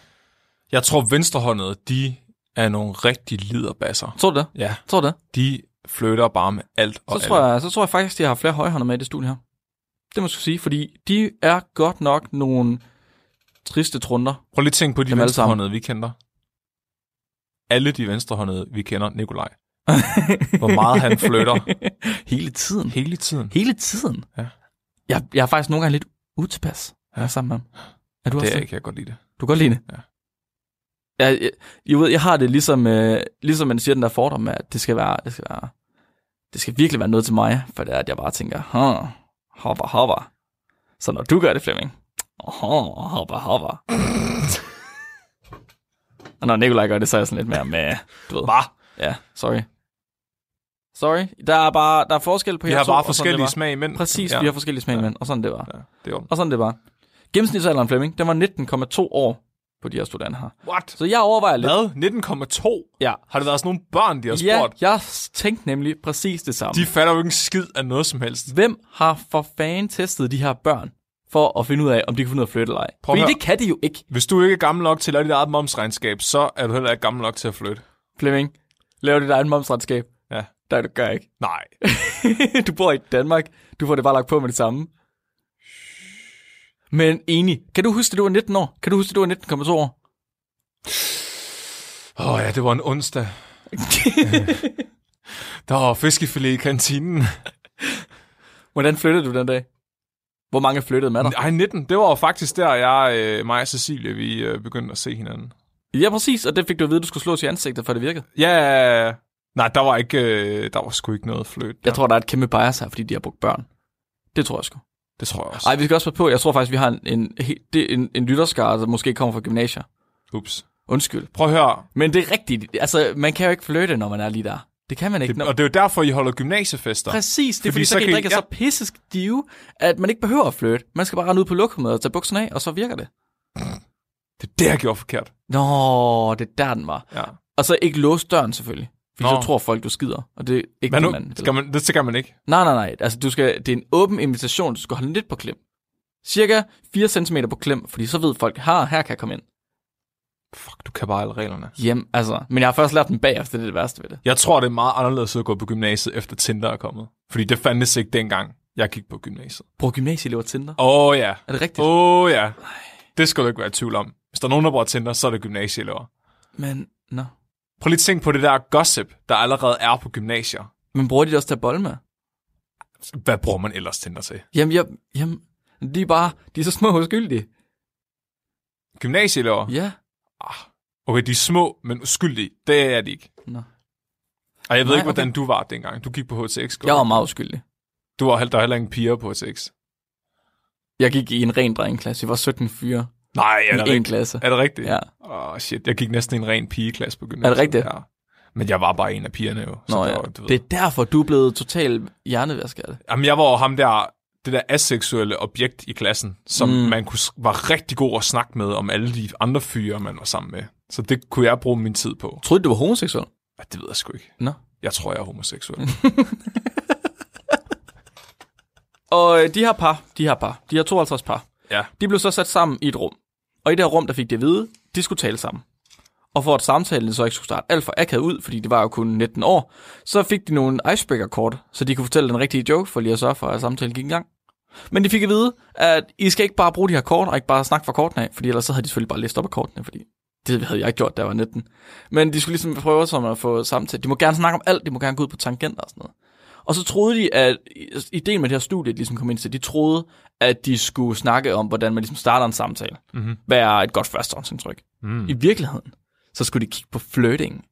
S2: Jeg tror, venstrehåndet, de er nogle rigtig liderbasser.
S3: Tror du det?
S2: Ja,
S3: Tror du det?
S2: de flytter bare med alt og
S3: Så tror, jeg, så tror jeg faktisk, de har flere højhånder med i det studie her. Det må jeg skulle sige, fordi de er godt nok nogle triste trunder.
S2: Prøv lige at tænke på de
S3: Dem alle
S2: venstrehåndede, vi kender. Alle de venstrehåndede, vi kender, Nikolaj.
S3: Mm.
S2: Hvor meget han flytter
S3: Hele tiden.
S2: hele tiden.
S3: Hele tiden?
S2: Ja.
S3: Jeg, jeg er faktisk nogle gange lidt utilpas, når jeg er sammen med ham. Er du også
S2: Det
S3: det?
S2: er, jeg kan godt lide det.
S3: Du kan godt lide det?
S2: Ja.
S3: Jeg, jeg, jeg, ved, jeg har det ligesom, øh, ligesom man siger den der fordom med, at det skal være, det skal være, det skal virkelig være noget til mig, for det er, at jeg bare tænker, huh, hopper, hopper. Så når du gør det, Flemming, huh, hopper, hopper. Og når Nikolaj gør det, så er jeg sådan lidt mere med, du ved. Hvad? Ja, sorry. Sorry. Der er bare der er forskel på
S2: Vi
S3: jer
S2: har
S3: to,
S2: bare
S3: og sådan er det
S2: forskellige
S3: bare.
S2: smag, men...
S3: Præcis,
S2: ja.
S3: ja. vi har forskellige smag, ja. og sådan det var.
S2: Ja, det er ordentligt.
S3: Og sådan det var. Gennemsnitsalderen Flemming, den var 19,2 år på de her studenter her.
S2: What?
S3: Så jeg overvejer lidt.
S2: Hvad? 19,2?
S3: Ja.
S2: Har det været sådan nogle børn, de har
S3: Ja,
S2: spurgt?
S3: jeg tænkte nemlig præcis det samme.
S2: De
S3: De...
S2: fatter jo ikke en skid af noget som helst.
S3: Hvem har for fanden testet de her børn for at finde ud af, om de kan finde ud af at flytte eller ej?
S2: Prøv at
S3: Fordi
S2: høre.
S3: det kan de jo ikke,
S2: Hvis du ikke er gammel nok til at lave dit eget momsregnskab, så er du heller ikke gammel nok til at flytte.
S3: Flemming. Lav dit egen momsregnskab.
S2: Ja.
S3: Nej, du gør ikke.
S2: Nej.
S3: du bor i Danmark. Du får det bare lagt på med det samme. Men enig. Kan du huske, at du var 19 år? Kan du huske, at du var 19,2 år?
S2: Åh oh, ja, det var en onsdag. Der var fiskefilet i kantinen.
S3: Hvordan flyttede du den dag? Hvor mange flyttede med dig?
S2: Ej, 19. Det var jo faktisk der, jeg, øh, mig og Cecilie, vi øh, begyndte at se hinanden.
S3: Ja, præcis, og det fik du at vide, at du skulle slås i ansigtet, for det virkede. Ja.
S2: Ja, nej, der var ikke, øh, der var sgu ikke noget flødt.
S3: Jeg tror, der er et kæmpe bias her, fordi de har brugt børn. Det tror jeg sgu.
S2: Det tror jeg også.
S3: Ej, vi skal også passe på. Jeg tror faktisk, vi har en, en, he- det, en, en lytterskare, der måske kommer fra gymnasier.
S2: Ups.
S3: Undskyld.
S2: Prøv at høre.
S3: Men det er rigtigt. Altså, man kan jo ikke flytte, når man er lige der. Det kan man ikke.
S2: Det,
S3: Det,
S2: og det er jo derfor, I holder gymnasiefester.
S3: Præcis, det er
S2: Fordi
S3: fordi, fordi så,
S2: så
S3: kan
S2: kan
S3: I
S2: I-
S3: drikke ja. så pisse stive, at man ikke behøver at flytte. Man skal bare rende ud på lokummet og tage bukserne af, og så virker det.
S2: Det er det, jeg gjorde forkert.
S3: Nå, det er der, den var.
S2: Ja.
S3: Og så ikke låse døren, selvfølgelig. Fordi Nå.
S2: Nå.
S3: så tror folk, du skider, og det er ikke
S2: Hvad
S3: det,
S2: nu?
S3: man... vil.
S2: Skal man, det skal man ikke.
S3: Nej, nej, nej. Altså, du skal, det er en åben invitation. Du skal holde lidt på klem. Cirka 4 cm på klem, fordi så ved folk, her, her kan jeg komme ind.
S2: Fuck, du kan bare alle reglerne.
S3: Hjem, altså. Men jeg har først lært dem bagefter, det er det værste ved det.
S2: Jeg tror, det er meget anderledes at gå på gymnasiet, efter Tinder er kommet. Fordi det fandtes ikke dengang, jeg gik på gymnasiet.
S3: Bruger gymnasieelever Tinder?
S2: Åh oh, ja.
S3: Er det rigtigt? Oh.
S2: Åh oh, ja. Det skal du ikke være i tvivl om. Hvis der er nogen, der bruger Tinder, så er det gymnasieelever.
S3: Men, nå.
S2: Prøv lige at tænke på det der gossip, der allerede er på gymnasier.
S3: Men bruger de det også til at bolle med?
S2: Hvad bruger man ellers Tinder til?
S3: Jamen, jeg, jamen, de er bare, de er så små og uskyldige.
S2: Gymnasieelever? Ah,
S3: Ja.
S2: Okay, de er små, men uskyldige. Det er de ikke.
S3: Nå.
S2: Og jeg ved
S3: Nej,
S2: ikke, hvordan du var dengang. Du gik på HTX.
S3: Jeg var meget uskyldig.
S2: Du var heller, der var heller ingen piger på HTX.
S3: Jeg gik i en ren drengklasse. Jeg var 17 fyre
S2: Nej, er det
S3: i en
S2: rigtigt?
S3: klasse.
S2: Er det rigtigt?
S3: Ja.
S2: Åh, oh, shit. Jeg gik næsten i en ren pigeklasse på gymnasiet.
S3: rigtigt?
S2: Ja. Men jeg var bare en af pigerne jo.
S3: Nå,
S2: der
S3: ja.
S2: var- du ved.
S3: Det er derfor, du er blevet total hjernevasker af det.
S2: Jamen, jeg var jo ham der, det der aseksuelle objekt i klassen, som
S3: Mm.
S2: mm. man kunne, s- var rigtig god at snakke med om alle de andre fyre, man var sammen med. Så det kunne jeg bruge min tid på.
S3: Troede du, du var homoseksuel?
S2: Ej, Det ved jeg sgu ikke.
S3: Nå.
S2: Jeg tror, jeg er homoseksuel.
S3: Mm. Og øh, de her par, de her par, de her 52 par,
S2: ja.
S3: de blev så sat sammen i et rum. Og i det her rum, der fik de at vide, de skulle tale sammen. Og for at samtalen så ikke skulle starte alt for akavet ud, fordi det var jo kun 19 år, så fik de nogle icebreaker-kort, så de kunne fortælle den rigtige joke, for lige at sørge for, at samtalen gik i gang. Men de fik at vide, at I skal ikke bare bruge de her kort, og ikke bare snakke fra kortene af, fordi ellers så havde de selvfølgelig bare læst op af kortene, fordi det havde jeg ikke gjort, da jeg var 19. Men de skulle ligesom prøve som at få samtale. De må gerne snakke om alt, de må gerne gå ud på tangenter og sådan noget. Og så troede de, at ideen med det her studie, de ligesom kom ind til, de troede, at de skulle snakke om, hvordan man ligesom starter en samtale.
S2: Mhm.
S3: Hvad er et godt førstehåndsindtryk?
S2: Mm.
S3: I virkeligheden, så skulle de kigge på flirting.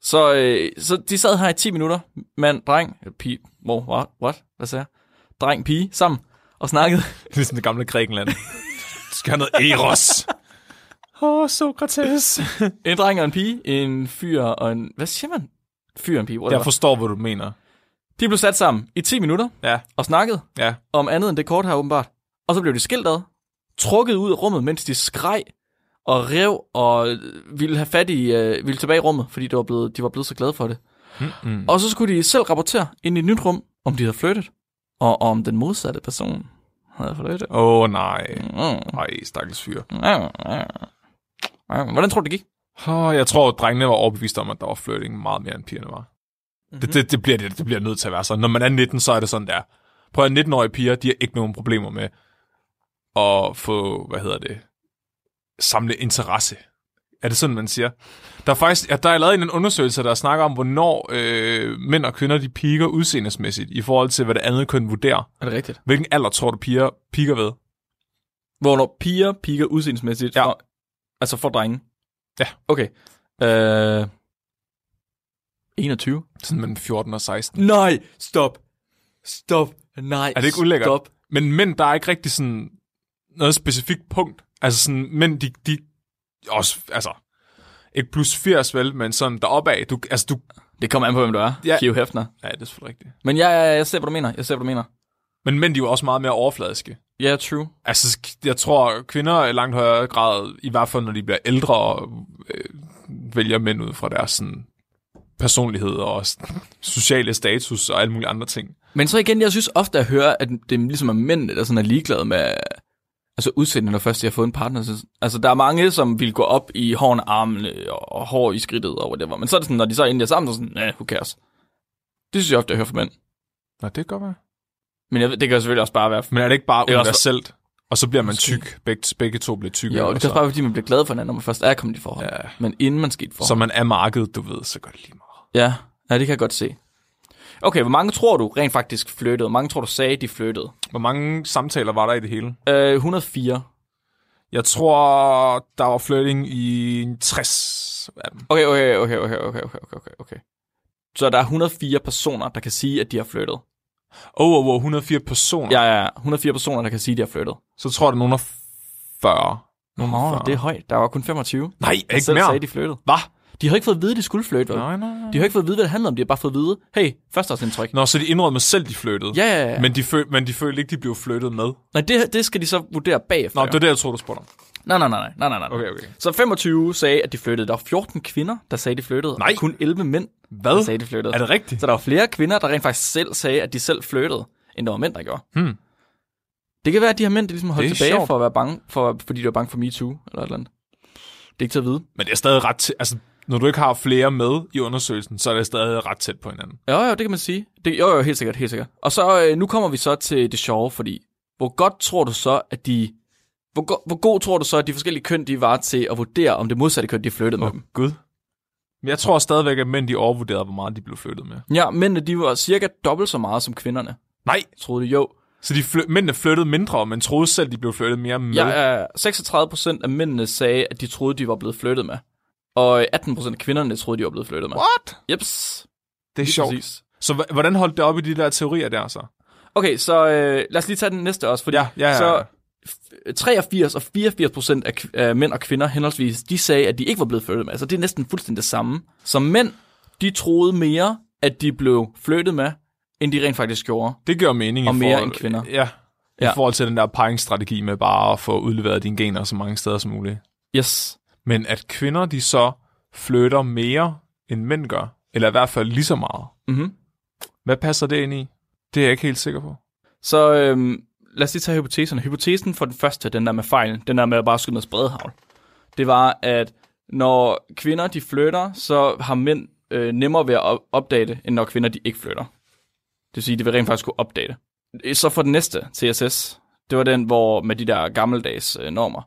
S3: Så, øh, så de sad her i 10 minutter, mand, dreng, øh, pige, mor, what, what? Hvad sagde jeg? Dreng, pige, sammen, og snakkede.
S2: Ligesom det gamle Grækenland. Du skal have noget eros. Åh, oh, Sokrates.
S3: En dreng og en pige, en fyr og en... Hvad siger man? Fyr og en pige,
S2: Jeg
S3: whatever.
S2: forstår, hvad du mener.
S3: De blev sat sammen i 10 minutter
S2: Ja,
S3: og snakkede
S2: ja.
S3: om andet end det kort her åbenbart. Og så blev de skilt ad, trukket ud af rummet, mens de skreg og rev og øh, ville have fat i, øh, ville tilbage i rummet, fordi det var blevet, de var blevet så glade for det.
S2: Mm-mm.
S3: Og så skulle de selv rapportere ind i et nyt rum, om de havde flyttet, og om den modsatte person havde flyttet.
S2: Åh, oh, nej.
S3: Mm.
S2: Nej, stakkels fyr.
S3: Hvordan tror du, det gik?
S2: Oh, jeg tror, drengene var overbevist om, at der var flirting meget mere, end pigerne var. Mm-hmm. Det, det, det, bliver, det, det bliver nødt til at være sådan. Når man er 19, så er det sådan der. Prøv at 19-årige piger, de har ikke nogen problemer med at få, hvad hedder det, samle interesse. Er det sådan, man siger? Der er faktisk, ja, der er lavet en undersøgelse, der snakker om, hvornår øh, mænd og kvinder, de piker udseendesmæssigt, i forhold til, hvad det andet køn vurderer.
S3: Er det rigtigt?
S2: Hvilken alder tror du, piger piker ved?
S3: Hvornår piger piger udseendemæssigt,
S2: Ja.
S3: ja. altså for drenge?
S2: Ja.
S3: Okay. Øh, 21.
S2: Sådan mellem 14 og 16.
S3: Nej, stop. Stop. Nej,
S2: Er det ikke ulækkert?
S3: Stop.
S2: Men mænd, der er ikke rigtig sådan noget specifikt punkt. Altså sådan, mænd, de, de også, altså, ikke plus 80, vel, men sådan deroppe af. Du, altså, du,
S3: Det kommer an på, hvem du er.
S2: Ja.
S3: Ja. Hugh Hefner.
S2: ja, det er selvfølgelig rigtigt.
S3: Men jeg, jeg, jeg ser, hvad du mener. Jeg ser, hvad du mener.
S2: Men mænd, de er jo også meget mere overfladiske.
S3: Ja, yeah, true.
S2: Altså, jeg tror, kvinder i langt højere grad, i hvert fald når de bliver ældre, øh, vælger mænd ud fra deres sådan, personlighed og s- sociale status og alle mulige andre ting.
S3: Men så igen, jeg synes ofte at høre, at det ligesom er mændene, der sådan er ligeglade med altså udsendende, når først de har fået en partner. Så, altså, der er mange, som vil gå op i hårene, armene og, og hår i skridtet og whatever. Men så er det sådan, når de så endelig er sammen, så er det sådan, nah, who cares? Det synes jeg ofte, jeg hører fra mænd.
S2: Nå, det kan godt være.
S3: Men jeg, ved- det kan jo selvfølgelig også bare være...
S2: Men er det ikke bare
S3: Det er også-
S2: universelt? Og så bliver man
S3: Måske.
S2: tyk. Begge, begge to bliver tykke.
S3: Jo,
S2: og
S3: det kan
S2: så-
S3: også bare være, fordi man bliver glad for hinanden, når man først er kommet i forhold.
S2: Ja.
S3: Men inden man skete forhold.
S2: Så man er markedet, du ved, så gør det lige meget.
S3: Ja, ja, det kan jeg godt se. Okay, hvor mange tror du rent faktisk flyttede? Hvor mange tror du sagde, de flyttede?
S2: Hvor mange samtaler var der i det hele?
S3: Øh, 104.
S2: Jeg tror, der var flirting i en 60 af dem.
S3: Okay, okay, okay, okay, okay, okay, okay, okay, okay. Så der er 104 personer, der kan sige, at de har flyttet.
S2: Oh, oh, oh 104 personer.
S3: Ja, ja, ja. 104 personer, der kan sige, at de har flyttet.
S2: Så tror jeg, der er nogen af 40. Nogen af 40.
S3: det er højt. Der var kun 25.
S2: Nej,
S3: der
S2: ikke
S3: selv
S2: mere.
S3: sagde, de flyttede.
S2: Hvad?
S3: De har ikke fået at vide, at de skulle flytte, vel?
S2: Nej, nej, nej.
S3: De har ikke fået at vide, hvad det handler om. De har bare fået at vide, hey, førsteårsindtryk.
S2: Nå, så de indrømmede selv, de flyttede.
S3: Ja, ja, ja. Men...
S2: Men, de føl- men de følte ikke, de blev flyttet med.
S3: Nej, det, det skal de så vurdere bagefter.
S2: Nå,
S3: jo.
S2: det er det, jeg tror, du spurgte om.
S3: Nej, nej, nej, nej, nej, nej, nej.
S2: Okay, okay.
S3: Så 25 sagde, at de flyttede. Der var 14 kvinder, der sagde, de flyttede.
S2: Nej.
S3: Og kun 11 mænd,
S2: Hvad?
S3: der sagde, de flyttede.
S2: Er det rigtigt?
S3: Så der var flere kvinder, der rent faktisk selv sagde, at de selv flyttede, end der var mænd, der gjorde.
S2: Hmm.
S3: Det kan være, at de her mænd de ligesom holdt
S2: Det er
S3: tilbage
S2: sjovt.
S3: for at være bange, for, fordi de var bange for MeToo eller et eller andet. Det er ikke til at vide.
S2: Men det er stadig ret tæt. Altså, når du ikke har flere med i undersøgelsen, så er det stadig ret tæt på hinanden.
S3: Jo, jo, det kan man sige. Det, jo, jo, helt sikkert, helt sikkert. Og så, øh, nu kommer vi så til det sjove, fordi hvor godt tror du så, at de... Hvor, go- hvor god tror du så, at de forskellige køn, de var til at vurdere, om det modsatte køn, de flyttede med dem?
S2: Gud. Men jeg tror stadigvæk, at mænd de overvurderede, hvor meget de blev flyttet med.
S3: Ja, mændene, de var cirka dobbelt så meget som kvinderne,
S2: Nej,
S3: troede de jo.
S2: Så de fly- mændene flyttede mindre, men troede selv, de blev flyttet mere med.
S3: Ja, ja, 36 procent af mændene sagde, at de troede, de var blevet flyttet med. Og 18 procent af kvinderne troede, de var blevet flyttet med.
S2: What?
S3: Jeps.
S2: Det er
S3: lige
S2: sjovt.
S3: præcis.
S2: Så h- hvordan holdt det op i de der teorier der så?
S3: Okay, så øh, lad os lige tage den næste også, fordi
S2: Ja, ja, ja.
S3: så f- 83 og 84 procent af, kv- af mænd og kvinder henholdsvis, de sagde, at de ikke var blevet flyttet med. Altså det er næsten fuldstændig det samme. Så mænd, de troede mere, at de blev flyttet med, end de rent faktisk gjorde.
S2: Det gør mening.
S3: Og
S2: i
S3: mere
S2: forhold-
S3: end kvinder.
S2: Ja. I
S3: Ja.
S2: forhold til den der paringsstrategi med bare at få udleveret dine gener så mange steder som muligt.
S3: Yes.
S2: Men at kvinder, de så flytter mere, end mænd gør. Eller i hvert fald lige så meget.
S3: Mm-hmm.
S2: Hvad passer det ind i? Det er jeg ikke helt sikker på.
S3: Så øhm, lad os lige tage hypoteserne. Hypotesen for den første, den der med fejlen, den der med at bare skyde noget spredhavl, det var, at når kvinder de flytter, så har mænd øh, nemmere ved at op- opdage det, end når kvinder de ikke flytter. Det vil sige, de vil rent faktisk kunne opdage det. Øh, Så for den næste, CSS, det var den, hvor med de der gammeldags øh, normer,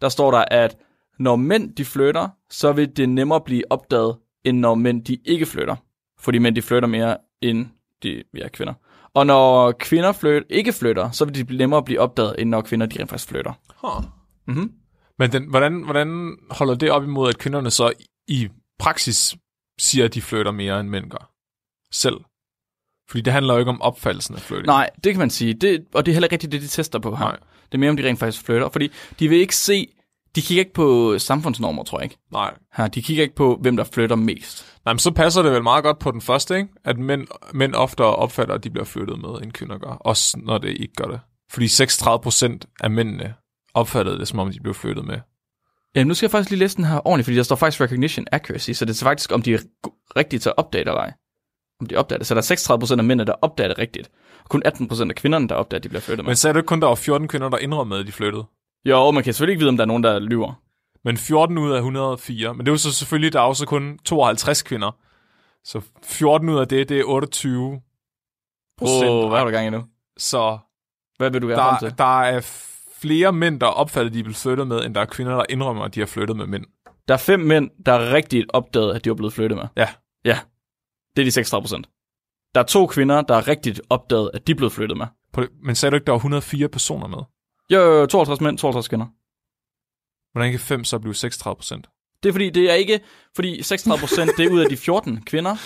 S3: der står der, at når mænd de flytter, så vil det nemmere blive opdaget, end når mænd de ikke flytter. Fordi mænd de flytter mere, end de ja, kvinder. Og når kvinder flyt, ikke flytter, så vil de blive nemmere at blive opdaget, end når kvinder de rent faktisk flytter.
S2: Huh.
S3: Mm-hmm.
S2: Men den, hvordan, hvordan holder det op imod, at kvinderne så i praksis siger, at de flytter mere end mænd gør? Selv. Fordi det handler jo ikke om opfattelsen af flytning.
S3: Nej, det kan man sige. Det, og det er heller ikke rigtigt det, de tester på her.
S2: Nej.
S3: Det er mere, om de rent faktisk flytter. Fordi de vil ikke se... De kigger ikke på samfundsnormer, tror jeg ikke.
S2: Nej.
S3: Her, de kigger ikke på, hvem der flytter mest.
S2: Nej, men så passer det vel meget godt på den første, ikke? At mænd, mænd oftere opfatter, at de bliver flyttet med, end kvinder gør. Også når det ikke gør det. Fordi 36 procent af mændene opfattede det, som om de blev flyttet med.
S3: Jamen, nu skal jeg faktisk lige læse den her ordentligt, fordi der står faktisk recognition accuracy, så det er faktisk, om de er go- rigtige til at opdage det eller ej. Om de opdager det. Så der er 36% af mændene, der opdager det rigtigt. Og kun 18% af kvinderne, der opdager, at de bliver flyttet med.
S2: Men sagde du ikke kun, der var 14 kvinder, der indrømmede, at de flyttede?
S3: Jo, man kan selvfølgelig ikke vide, om der er nogen, der lyver.
S2: Men 14 ud af 104. Men det er jo så selvfølgelig, der er jo så kun 52 kvinder. Så 14 ud af det, det er 28 procent.
S3: Åh, hvad har du gang i nu?
S2: Så
S3: Hvad vil du gerne frem
S2: der,
S3: til?
S2: der er flere mænd, der opfatter, at de er blevet flyttet med, end der er kvinder, der indrømmer, at de har flyttet med mænd.
S3: Der er fem mænd, der rigtigt opdagede, at de var blevet flyttet med.
S2: Ja.
S3: Ja. Det er de 36 procent. Der er to kvinder, der rigtigt opdagede, at de blev flyttet med.
S2: Prøv lige- Men sagde du ikke, der var 104 personer med?
S3: Jo, jo, jo, 52 mænd, 52 kvinder.
S2: Hvordan kan 5 så blive 36 procent?
S3: Det er fordi, det er ikke... Fordi 36 procent, det er ud af de 14 kvinder,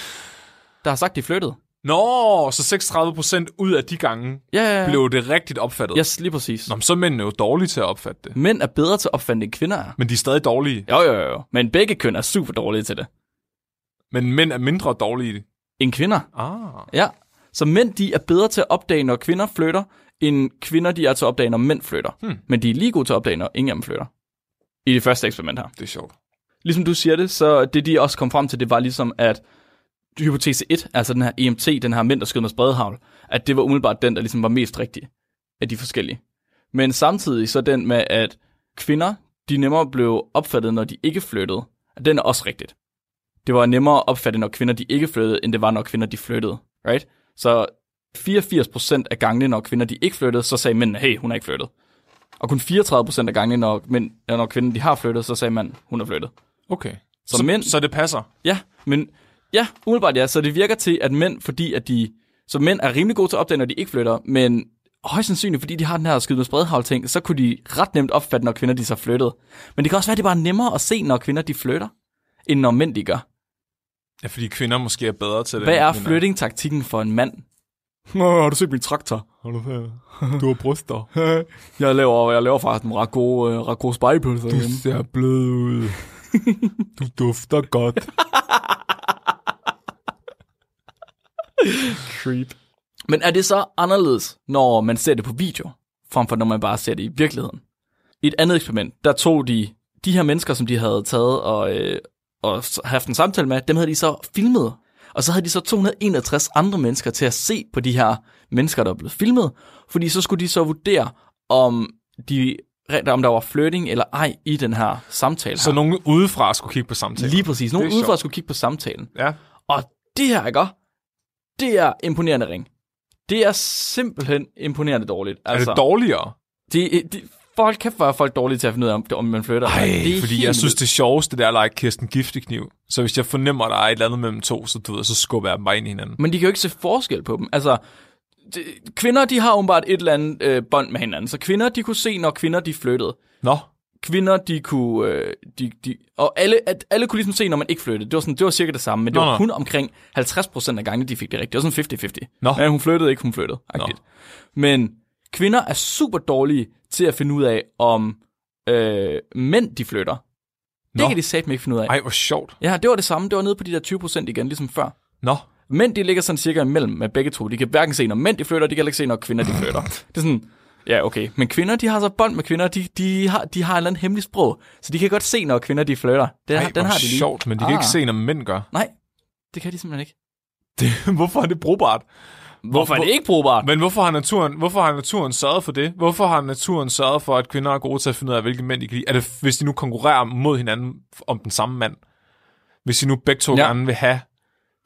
S3: der har sagt, de flyttede.
S2: Nå, så 36 procent ud af de gange
S3: Ja, ja, ja.
S2: blev det rigtigt opfattet.
S3: Yes, Mm. lige præcis.
S2: Nå, men så er mændene jo dårlige til at opfatte det.
S3: Mænd er bedre til at opfande, end kvinder er.
S2: Men de er stadig dårlige.
S3: Jo, jo, jo, jo. Men begge køn er super dårlige til det.
S2: Men mænd er mindre dårlige.
S3: End kvinder.
S2: Ah.
S3: Ja. Så mænd, de er bedre til at opdage, når kvinder flytter, end kvinder, de er til at opdage, når mænd flytter.
S2: Hmm.
S3: Men de er lige gode til at opdage, når ingen af dem flytter. I det første eksperiment her.
S2: Det er sjovt.
S3: Ligesom du siger det, så det de også kom frem til, det var ligesom, at hypotese 1, altså den her EMT, den her mænd, der skød med spredhavl, at det var umiddelbart den, der ligesom var mest rigtig af de forskellige. Men samtidig så den med, at kvinder, de nemmere blev opfattet, når de ikke flyttede, at den er også rigtigt. Det var nemmere at opfatte, når kvinder de ikke flyttede, end det var, når kvinder de flyttede. Right? Så 84% af gangene, når kvinder de ikke flyttede, så sagde mændene, hey, hun er ikke flyttet. Og kun 34% af gangene, når, mænd, når kvinder de har flyttet, så sagde man, hun er flyttet.
S2: Okay.
S3: Så
S2: så,
S3: mænd-
S2: så det passer.
S3: Ja, men ja, umiddelbart ja. Så det virker til, at mænd, fordi at de... Så mænd er rimelig gode til at opdage, når de ikke flytter, men højst sandsynligt, fordi de har den her skyde med spredhavl ting, så kunne de ret nemt opfatte, når kvinder de så flyttede. Men det kan også være, at det bare er nemmere at se, når kvinder de flytter, end når mænd de gør.
S2: Ja, fordi kvinder måske er bedre til det.
S3: Hvad
S2: end
S3: er
S2: mænd
S3: flytting-taktikken for en mand?
S2: Nå, har du set min traktor? Har du, du har bryster.
S3: Jeg laver, jeg laver faktisk en ret god, øh, ret god spejlpølse derhjemme.
S2: ser blød ud. Du dufter godt.
S3: Creep. Men er det så anderledes, når man ser det på video, frem for når man bare ser det i virkeligheden? I et andet eksperiment, der tog de de her mennesker, som de havde taget og, øh, og s- haft en samtale med, dem havde de så filmet. Og så havde de så 261 andre mennesker til at se på de her mennesker, der var blevet filmet. Fordi så skulle de så vurdere, om, de, om der var flirting eller ej i den her samtale.
S2: Så
S3: her.
S2: nogen udefra skulle kigge på samtalen.
S3: Lige præcis. Nogen
S2: Det er
S3: udefra
S2: sjovt.
S3: skulle kigge på samtalen.
S2: Ja.
S3: Og det her, ikke? Det er imponerende ring. Det er simpelthen imponerende dårligt.
S2: Er
S3: Altså,
S2: det dårligere?
S3: det, det, folk kæft, hvor er folk dårlige til at finde ud af, om, om man flytter.
S2: Ej,
S3: det er
S2: fordi
S3: helt
S2: jeg synes,
S3: vildt.
S2: det sjoveste, det er at lege Kirsten Giftekniv. Så hvis jeg fornemmer, at der er et eller andet mellem to, så, du ved, så skubber jeg dem bare ind i hinanden.
S3: Men de kan jo ikke se forskel på dem. Altså, det, kvinder, de har åbenbart et eller andet øh, bånd med hinanden. Så kvinder, de kunne se, når kvinder, de flyttede.
S2: Nå,
S3: Kvinder, de kunne... Øh, de, de, og alle, at, alle kunne ligesom se, når man ikke flyttede. Det var, sådan, det var cirka det samme, men det
S2: Nå,
S3: var
S2: nå.
S3: kun omkring 50% af gangene, de fik det rigtigt. Det var sådan 50-50.
S2: Nå.
S3: Ja, hun flyttede ikke, hun flyttede.
S2: Nå.
S3: Agtigt. Men kvinder er super dårlige til at finde ud af, om øh, mænd de flytter. Det
S2: Nå.
S3: kan de satme ikke finde ud af.
S2: ej, hvor sjovt.
S3: Ja, det var det samme. Det var nede på de der 20% igen, ligesom før.
S2: Nå,
S3: Mænd, de ligger sådan cirka imellem med begge to. De kan hverken se, når mænd de flytter, de kan heller ikke se, når kvinder de flytter. Det er sådan, ja, okay. Men kvinder, de har så bånd med kvinder. De, de, har, de har et eller andet hemmeligt sprog, så de kan godt se, når kvinder de flytter. Den,
S2: ej,
S3: har- den
S2: hvor
S3: har de lige.
S2: sjovt, men de kan
S3: Ah.
S2: ikke se, når mænd gør.
S3: Nej, Det kan de simpelthen ikke.
S2: Det, hvorfor er det brugbart?
S3: Hvorfor er det ikke brugbart?
S2: Men hvorfor har, naturen, hvorfor har naturen sørget for det? Hvorfor har naturen sørget for, at kvinder er gode til at finde ud af, hvilke mænd de kan lide? Er det, hvis de nu konkurrerer mod hinanden om den samme mand? Hvis de nu begge to
S3: Ja.
S2: ja. gerne vil have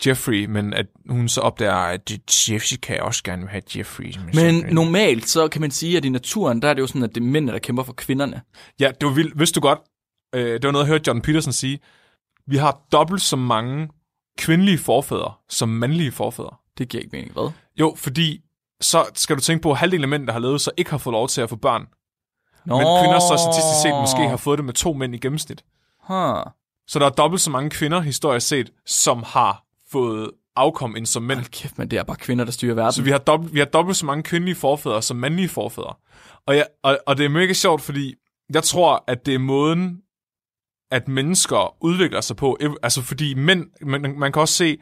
S2: Jeffrey, men at hun så opdager, at det- Jessica også gerne vil have Jeffrey.
S3: Men
S2: så-
S3: normalt, så kan man sige, at i naturen, der er det jo sådan, at det er mændene, der kæmper for kvinderne.
S2: Ja, det var vildt. Vidste du godt, øh, det var noget, jeg hørte John Peterson sige. Vi har dobbelt så mange kvindelige forfædre som mandlige forfædre.
S3: Det giver ikke mening, hvad?
S2: Jo, fordi så skal du tænke på, at halvdelen af mænd, der har levet, så ikke har fået lov til at få børn.
S3: Nå.
S2: Men kvinder så statistisk set måske har fået det med to mænd i gennemsnit.
S3: Huh.
S2: Så der er dobbelt så mange kvinder, historisk set, som har fået afkom end som mænd.
S3: Hold kæft, men det er bare kvinder, der styrer verden.
S2: Så vi har, dobbelt, vi har dobbelt så mange kvindelige forfædre som mandlige forfædre. Og, jeg, og, og det er mega sjovt, fordi jeg tror, at det er måden, at mennesker udvikler sig på. Ev- Altså fordi mænd, man, man kan også se,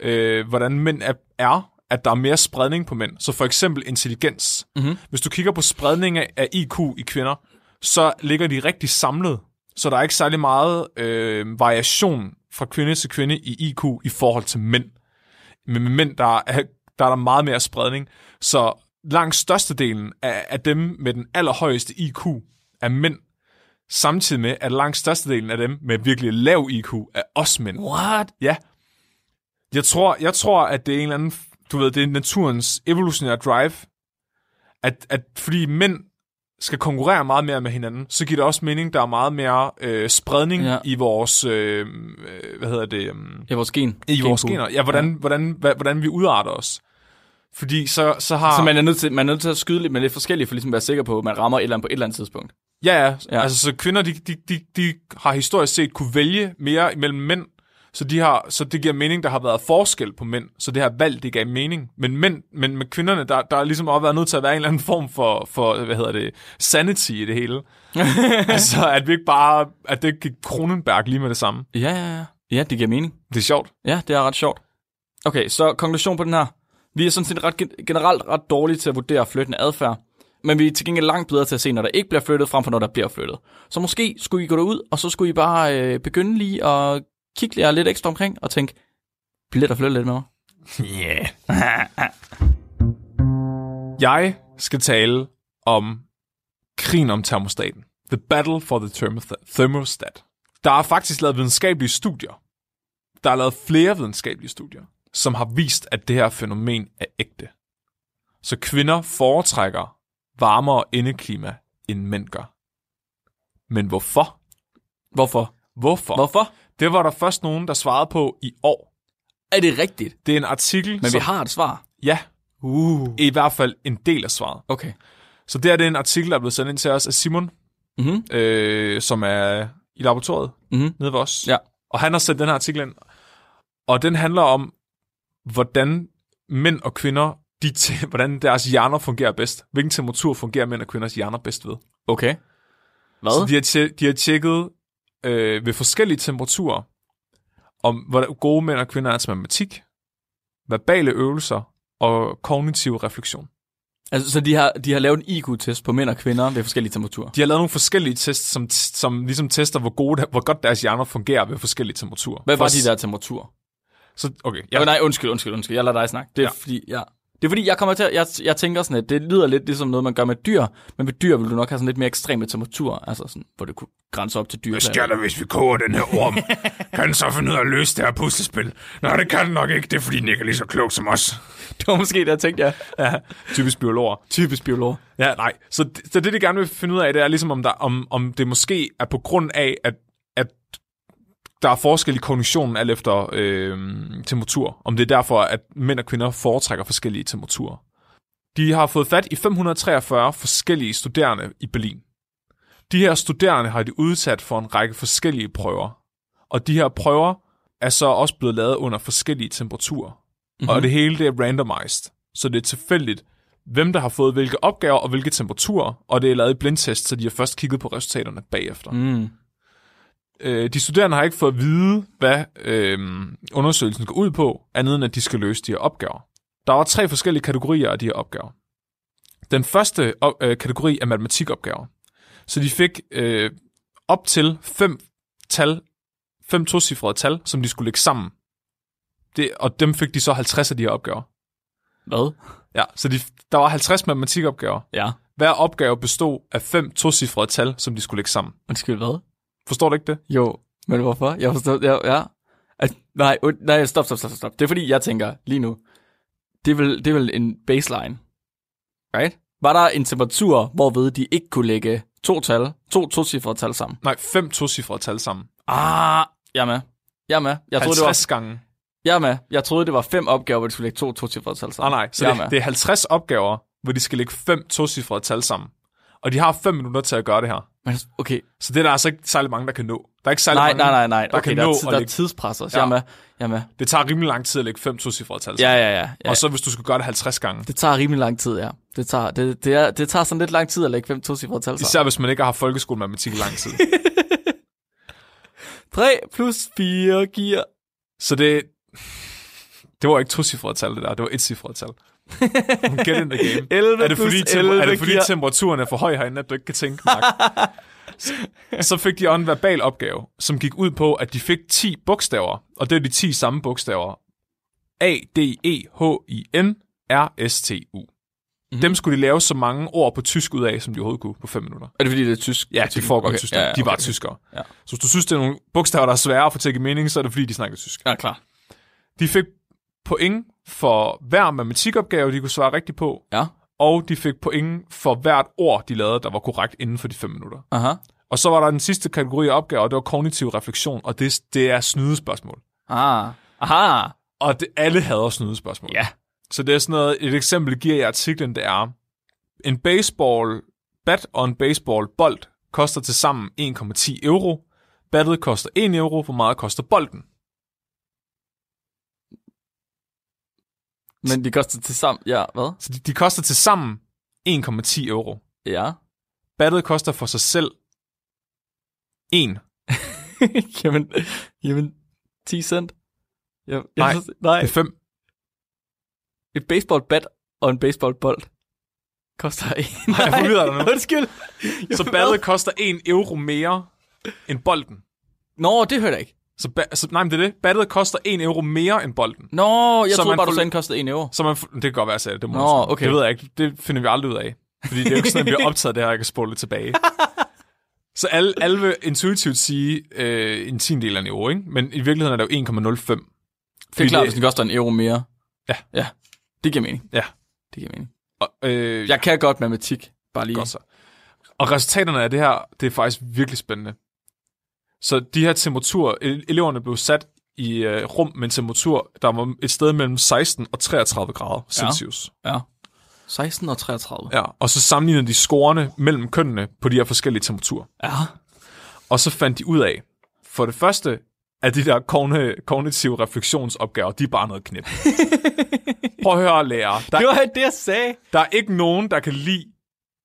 S2: øh, hvordan mænd er, er, at der er mere spredning på mænd. Så for eksempel intelligens. Mm-hmm. Hvis du kigger på spredning af, af IQ i kvinder, så ligger de rigtig samlet. Så der er ikke særlig meget øh, variation fra kvinde til kvinde i IQ i forhold til mænd. Men med mænd, der er, der er der meget mere spredning. Så langt størstedelen af, af dem med den allerhøjeste IQ er mænd. Samtidig med, at langt størstedelen af dem med virkelig lav IQ er også mænd.
S3: What?
S2: Ja. Jeg tror, jeg tror, at det er en eller anden... Du ved, det er naturens evolutionære drive. At, at fordi mænd skal konkurrere meget mere med hinanden, så giver det også mening, der er meget mere øh, spredning
S3: Ja.
S2: ja. i vores... Øh, øh, hvad hedder det? Øh,
S3: Ja, vores gen.
S2: i vores
S3: Genpool.
S2: gener. Ja, hvordan, ja. hvordan, hva- hvordan vi udarter os. Fordi så, så har...
S3: Så man er, nødt til, man er nødt til at skyde lidt med lidt forskelligt, for ligesom at være sikker på, at man rammer et eller andet på et eller andet tidspunkt.
S2: ja, ja,
S3: Ja.
S2: ja, altså så kvinder, de, de, de, de har historisk set kunne vælge mere mellem mænd, så, de har, så det giver mening, der har været forskel på mænd, så det her valg, det gav mening. Men, mænd, men med kvinderne, der, der er ligesom også været nødt til at være en eller anden form for, for hvad hedder det, sanity i det hele. altså, at vi ikke bare, at det ikke gik Kronenberg lige med det samme.
S3: Ja, ja, ja. Ja, det giver mening.
S2: Det er sjovt.
S3: Ja, det er ret sjovt. Okay, så konklusion på den her. Vi er sådan set ret, gen- generelt ret dårlige til at vurdere flyttende adfærd, men vi er til gengæld langt bedre til at se, når der ikke bliver flyttet, frem for når der bliver flyttet. Så måske skulle I gå derud, og så skulle I bare øh, begynde lige at kigge jer lidt ekstra omkring og tænke, bliver der flyttet lidt med mig?
S2: Yeah. jeg skal tale om krigen om termostaten. The battle for the thermostat- thermostat. Der er faktisk lavet videnskabelige studier. Der er lavet flere videnskabelige studier, som har vist, at det her fænomen er ægte. Så kvinder foretrækker varmere indeklima, end mænd gør. Men hvorfor?
S3: Hvorfor?
S2: Hvorfor?
S3: Hvorfor?
S2: Det var der først nogen, der svarede på i år.
S3: Er det rigtigt?
S2: Det er en artikel,
S3: Men
S2: som,
S3: vi har et svar.
S2: Ja,
S3: Uh.
S2: i hvert fald en del af svaret.
S3: Okay.
S2: Så det her det er en artikel, der er blevet sendt ind til os af Simon,
S3: Mhm.
S2: øh, som er i laboratoriet
S3: Mhm.
S2: nede ved os.
S3: Ja.
S2: Og han har sendt den her artikel ind, og den handler om, hvordan mænd og kvinder, de t- hvordan deres hjerner fungerer bedst. Hvilken temperatur fungerer mænd og kvinders hjerner bedst ved.
S3: Okay.
S2: Så
S3: Hvad?
S2: de har, tje- de har tjekket øh, ved forskellige temperaturer, om hvor gode mænd og kvinder er til matematik, verbale øvelser og kognitiv refleksion.
S3: Altså, så de har, de har lavet en IQ-test på mænd og kvinder ved forskellige temperaturer.
S2: De har lavet nogle forskellige tests, som, som ligesom tester, hvor, gode, hvor godt deres hjerner fungerer ved forskellige temperaturer.
S3: Hvad var
S2: For-
S3: de der temperaturer?
S2: Så, okay,
S3: Ja.
S2: ja.
S3: Oh, nej, undskyld, undskyld, undskyld. Jeg lader dig snakke. Det er ja.
S2: Ja.
S3: fordi, ja. Det er fordi, jeg kommer til at, jeg, jeg tænker sådan, at det lyder lidt ligesom noget, man gør med dyr, men ved dyr vil du nok have sådan lidt mere ekstreme temperaturer, altså sådan, hvor det kunne grænse op til dyr.
S2: der, hvis vi koger den her orm? kan den så finde ud af at løse det her puslespil? Nej, det kan den nok ikke. Det er, fordi den ikke er lige så klog som os.
S3: Det var måske det, jeg tænkte, ja.
S2: Ja, typisk biologer.
S3: Typisk biolog.
S2: Ja, nej. Så, d- så det, de gerne vil finde ud af, det er ligesom, om, der, om, om det måske er på grund af, at, at der er forskel i kognitionen alt efter øh, temperatur. Om det er derfor, at mænd og kvinder foretrækker forskellige temperaturer. De har fået fat i 543 forskellige studerende i Berlin. De her studerende har de udsat for en række forskellige prøver. Og de her prøver er så også blevet lavet under forskellige temperaturer. Mm-hmm. Og det hele det er randomized. Så det er tilfældigt, hvem der har fået hvilke opgaver og hvilke temperaturer. Og det er lavet i blindtest, så de har først kigget på resultaterne bagefter.
S3: Mm.
S2: Øh, de studerende har ikke fået at vide, hvad øh, undersøgelsen går ud på, andet end at de skal løse de her opgaver. Der var tre forskellige kategorier af de her opgaver. Den første op- øh, kategori er matematikopgaver. Så de fik øh, op til fem tal, fem tocifrede tal, som de skulle lægge sammen Det, og dem fik de så 50 af de her opgaver.
S3: Hvad?
S2: Ja, så de, der var 50 matematikopgaver.
S3: Ja.
S2: Hver opgave bestod af fem tocifrede tal, som de skulle lægge sammen.
S3: Undskyld, hvad?
S2: Forstår du ikke det?
S3: Jo, men hvorfor? Jeg forstår, ja, ja. At, nej, und- nej, stop, stop, stop, stop. Det er fordi, jeg tænker lige nu, det er vel, det er vel en baseline, right? Var der en temperatur, hvorved de ikke kunne lægge to tal, to tocifrede tal sammen?
S2: Nej, fem tocifrede tal sammen.
S3: Ah, jeg er med. Jeg er med. Jeg
S2: Jeg
S3: troede,
S2: 50
S3: det var,
S2: gange.
S3: jeg er med. Jeg troede, det var fem opgaver, hvor de skulle lægge to tocifrede tal
S2: Nej,
S3: sammen.
S2: Ah, nej. Så
S3: jeg
S2: det,
S3: er med.
S2: det er 50 opgaver, hvor de skal lægge fem tocifrede tal sammen. Og de har 5 minutter til at gøre det her.
S3: Men, okay,
S2: Så det er der altså ikke særlig mange, der kan nå. Der er ikke særlig
S3: nej,
S2: mange,
S3: nej, nej, nej.
S2: der
S3: Okay,
S2: kan
S3: der,
S2: nå
S3: er,
S2: at
S3: tid- der er
S2: lægge-
S3: tidspres
S2: Ja.
S3: også. Jeg er med. Jeg er med.
S2: Det tager rimelig lang tid at lægge fem tocifrede tal
S3: Ja,
S2: sammen.
S3: ja, ja. ja.
S2: Og så hvis du skal gøre det 50 gange.
S3: Det tager rimelig lang tid, ja. Det tager, det, det, er, det tager sådan lidt lang tid at lægge fem tocifrede tal sammen.
S2: Især hvis man ikke har haft folkeskolematematik i lang tid.
S3: 3 plus 4 giver...
S2: Så det... Det var ikke tocifrede tal, det der. Det var et cifret tal. Get in the game.
S3: 11
S2: Er det fordi,
S3: plus
S2: tem-
S3: 11
S2: er det fordi
S3: giver...
S2: temperaturen er for høj herinde, at du ikke kan tænke, Mark? så, så fik de også en verbal opgave, som gik ud på, at de fik 10 bogstaver, og det er de 10 samme bogstaver. A, D, E, H, I, N, R, S, T, U.
S3: Mhm.
S2: Mm-hmm. Dem skulle de lave så mange ord på tysk ud af, som de overhovedet kunne på 5 minutter.
S3: Er det fordi, det er tysk?
S2: Ja, det foregår okay. i
S3: Okay,
S2: Tyskland.
S3: ja, ja,
S2: De var
S3: okay.
S2: tyskere.
S3: Ja.
S2: Så hvis du synes, det er nogle bogstaver, der er svære at få til at give mening, så er det fordi, de snakker tysk.
S3: Ja, klar.
S2: De fik point for hver matematikopgave, de kunne svare rigtigt på,
S3: Ja.
S2: og de fik point for hvert ord, de lavede, der var korrekt inden for de 5 minutter.
S3: Aha.
S2: Og så var der den sidste kategori af opgaver, og det var kognitiv refleksion, og det, det er snydespørgsmål.
S3: Ah. Aha.
S2: Og det, alle havde snydespørgsmål.
S3: Ja.
S2: Så det er sådan noget, et eksempel giver jeg i artiklen, det er, en baseball bat og en baseball bold koster til sammen 1,10 euro. Battet koster 1 euro, hvor meget koster bolden?
S3: Men de koster til sammen... Ja, hvad?
S2: Så de, de koster til sammen 1,10 euro.
S3: Ja.
S2: Battet koster for sig selv 1.
S3: jamen, jamen, 10 cent? Jeg, jeg
S2: Nej.
S3: synes- nej.
S2: Det er 5.
S3: Et baseballbat og en baseballbold koster en.
S2: jeg forvirrer dig nu.
S3: Undskyld. Jeg
S2: Så
S3: hvad?
S2: battet koster 1 euro mere end bolden.
S3: Nå, det hørte jeg ikke.
S2: Så, ba- så nej, men det er det. Battet koster 1 euro mere end bolden.
S3: Nå, jeg
S2: Så
S3: troede
S2: man
S3: bare, du
S2: får-
S3: sagde, den kostede 1 euro.
S2: Så man, f- det kan godt være, at jeg sagde det. Det, må
S3: Nå,
S2: jeg undskylde.
S3: okay.
S2: det ved jeg ikke. Det finder vi aldrig ud af. Fordi det er jo ikke sådan, at vi har optaget det her, og jeg kan spole det tilbage. Så alle, alle vil intuitivt sige øh, en tiendel af en euro, ikke? Men i virkeligheden er det jo 1,05.
S3: Det er klart,
S2: det-
S3: hvis den koster en euro mere.
S2: Ja.
S3: Ja, det giver mening.
S2: Ja.
S3: Det giver mening.
S2: Og, øh,
S3: Jeg kan godt matematik, bare lige.
S2: Godt så. Og resultaterne af det her, det er faktisk virkelig spændende. Så de her temperaturer, ele- eleverne blev sat i øh, rum med en temperatur, der var et sted mellem 16 og 33 grader Celsius.
S3: Ja. 16 og 33.
S2: Ja. ja. Og så sammenlignede de scorene mellem kønnene på de her forskellige temperaturer.
S3: Ja.
S2: Og så fandt de ud af, for det første, at de der kogne- kognitive refleksionsopgaver, de er bare noget knip. Prøv at høre, lærer. Der,
S3: Det var det, jeg sagde.
S2: der er ikke nogen, der kan lide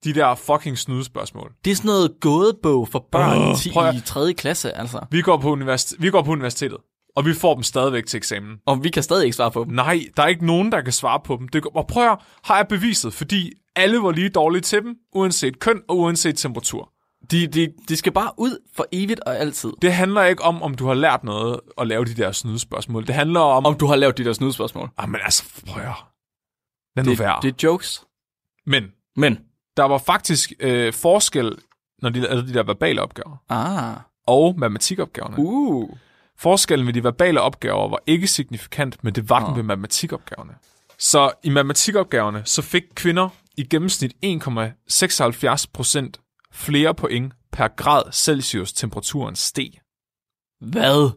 S2: de der fucking snydespørgsmål.
S3: Det er sådan noget gådebog for børn
S2: Åh, prøv at-
S3: oh, i 3. klasse, altså.
S2: Vi går, på universi- vi går på universitetet, og vi får dem stadigvæk til eksamen.
S3: Og vi kan stadig ikke svare på dem.
S2: Nej, der er ikke nogen, der kan svare på dem. Det, og prøv at høre, har jeg beviset, fordi alle var lige dårlige til dem, uanset køn og uanset temperatur.
S3: De, de, de skal bare ud for evigt og altid.
S2: Det handler ikke om, om du har lært noget at lave de der snydespørgsmål. Det handler om... om
S3: Om du har lavet de der snydespørgsmål.
S2: jamen altså, prøv at høre. Lad nu
S3: Det,
S2: være.
S3: det er jokes.
S2: Men
S3: Men.
S2: der var faktisk øh, forskel, når de lavede de der verbale opgaver
S3: Ah.
S2: og matematikopgaverne.
S3: Uh.
S2: Forskellen ved de verbale opgaver var ikke signifikant, men det var den
S3: Nå.
S2: ved matematikopgaverne. Så i matematikopgaverne, så fik kvinder i gennemsnit 1,76 procent flere point per grad Celsius temperaturen steg.
S3: Hvad?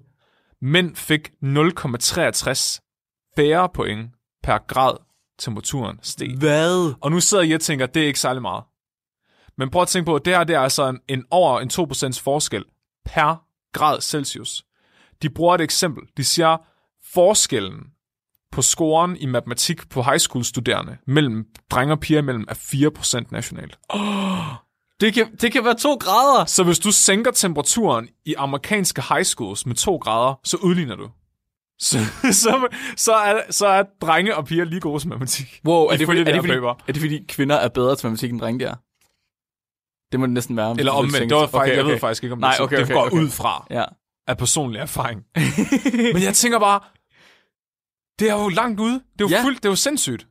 S2: Mænd fik 0,63 færre point per grad temperaturen steg.
S3: Hvad?
S2: Og nu sidder jeg og tænker, det er ikke særlig meget. Men prøv at tænke på, at det her det er altså en, en over en 2% forskel per grad Celsius. De bruger et eksempel. De siger, forskellen på scoren i matematik på high school studerende mellem drenge og piger mellem er 4% nationalt.
S3: Det kan, det kan være to grader.
S2: Så hvis du sænker temperaturen i amerikanske high schools med 2 grader, så udligner du. Så, så, så, er, så er drenge og piger lige gode som matematik.
S3: Wow, er det, fordi,
S2: Ifølge
S3: er, det
S2: her
S3: fordi,
S2: paper.
S3: er det fordi kvinder er bedre til matematik end drenge de er? Det må det næsten være. hvis
S2: Eller
S3: du vil
S2: omvendt.
S3: tænke-
S2: Det var faktisk,
S3: okay,
S2: okay, Jeg ved
S3: okay.
S2: faktisk ikke, om
S3: Nej,
S2: det, er sådan.
S3: okay,
S2: det
S3: okay,
S2: går
S3: okay.
S2: ud fra
S3: Ja.
S2: af personlig erfaring. Men jeg tænker bare, Det er jo langt ude. Det er jo,
S3: Ja.
S2: ja. fuldt, det er jo sindssygt.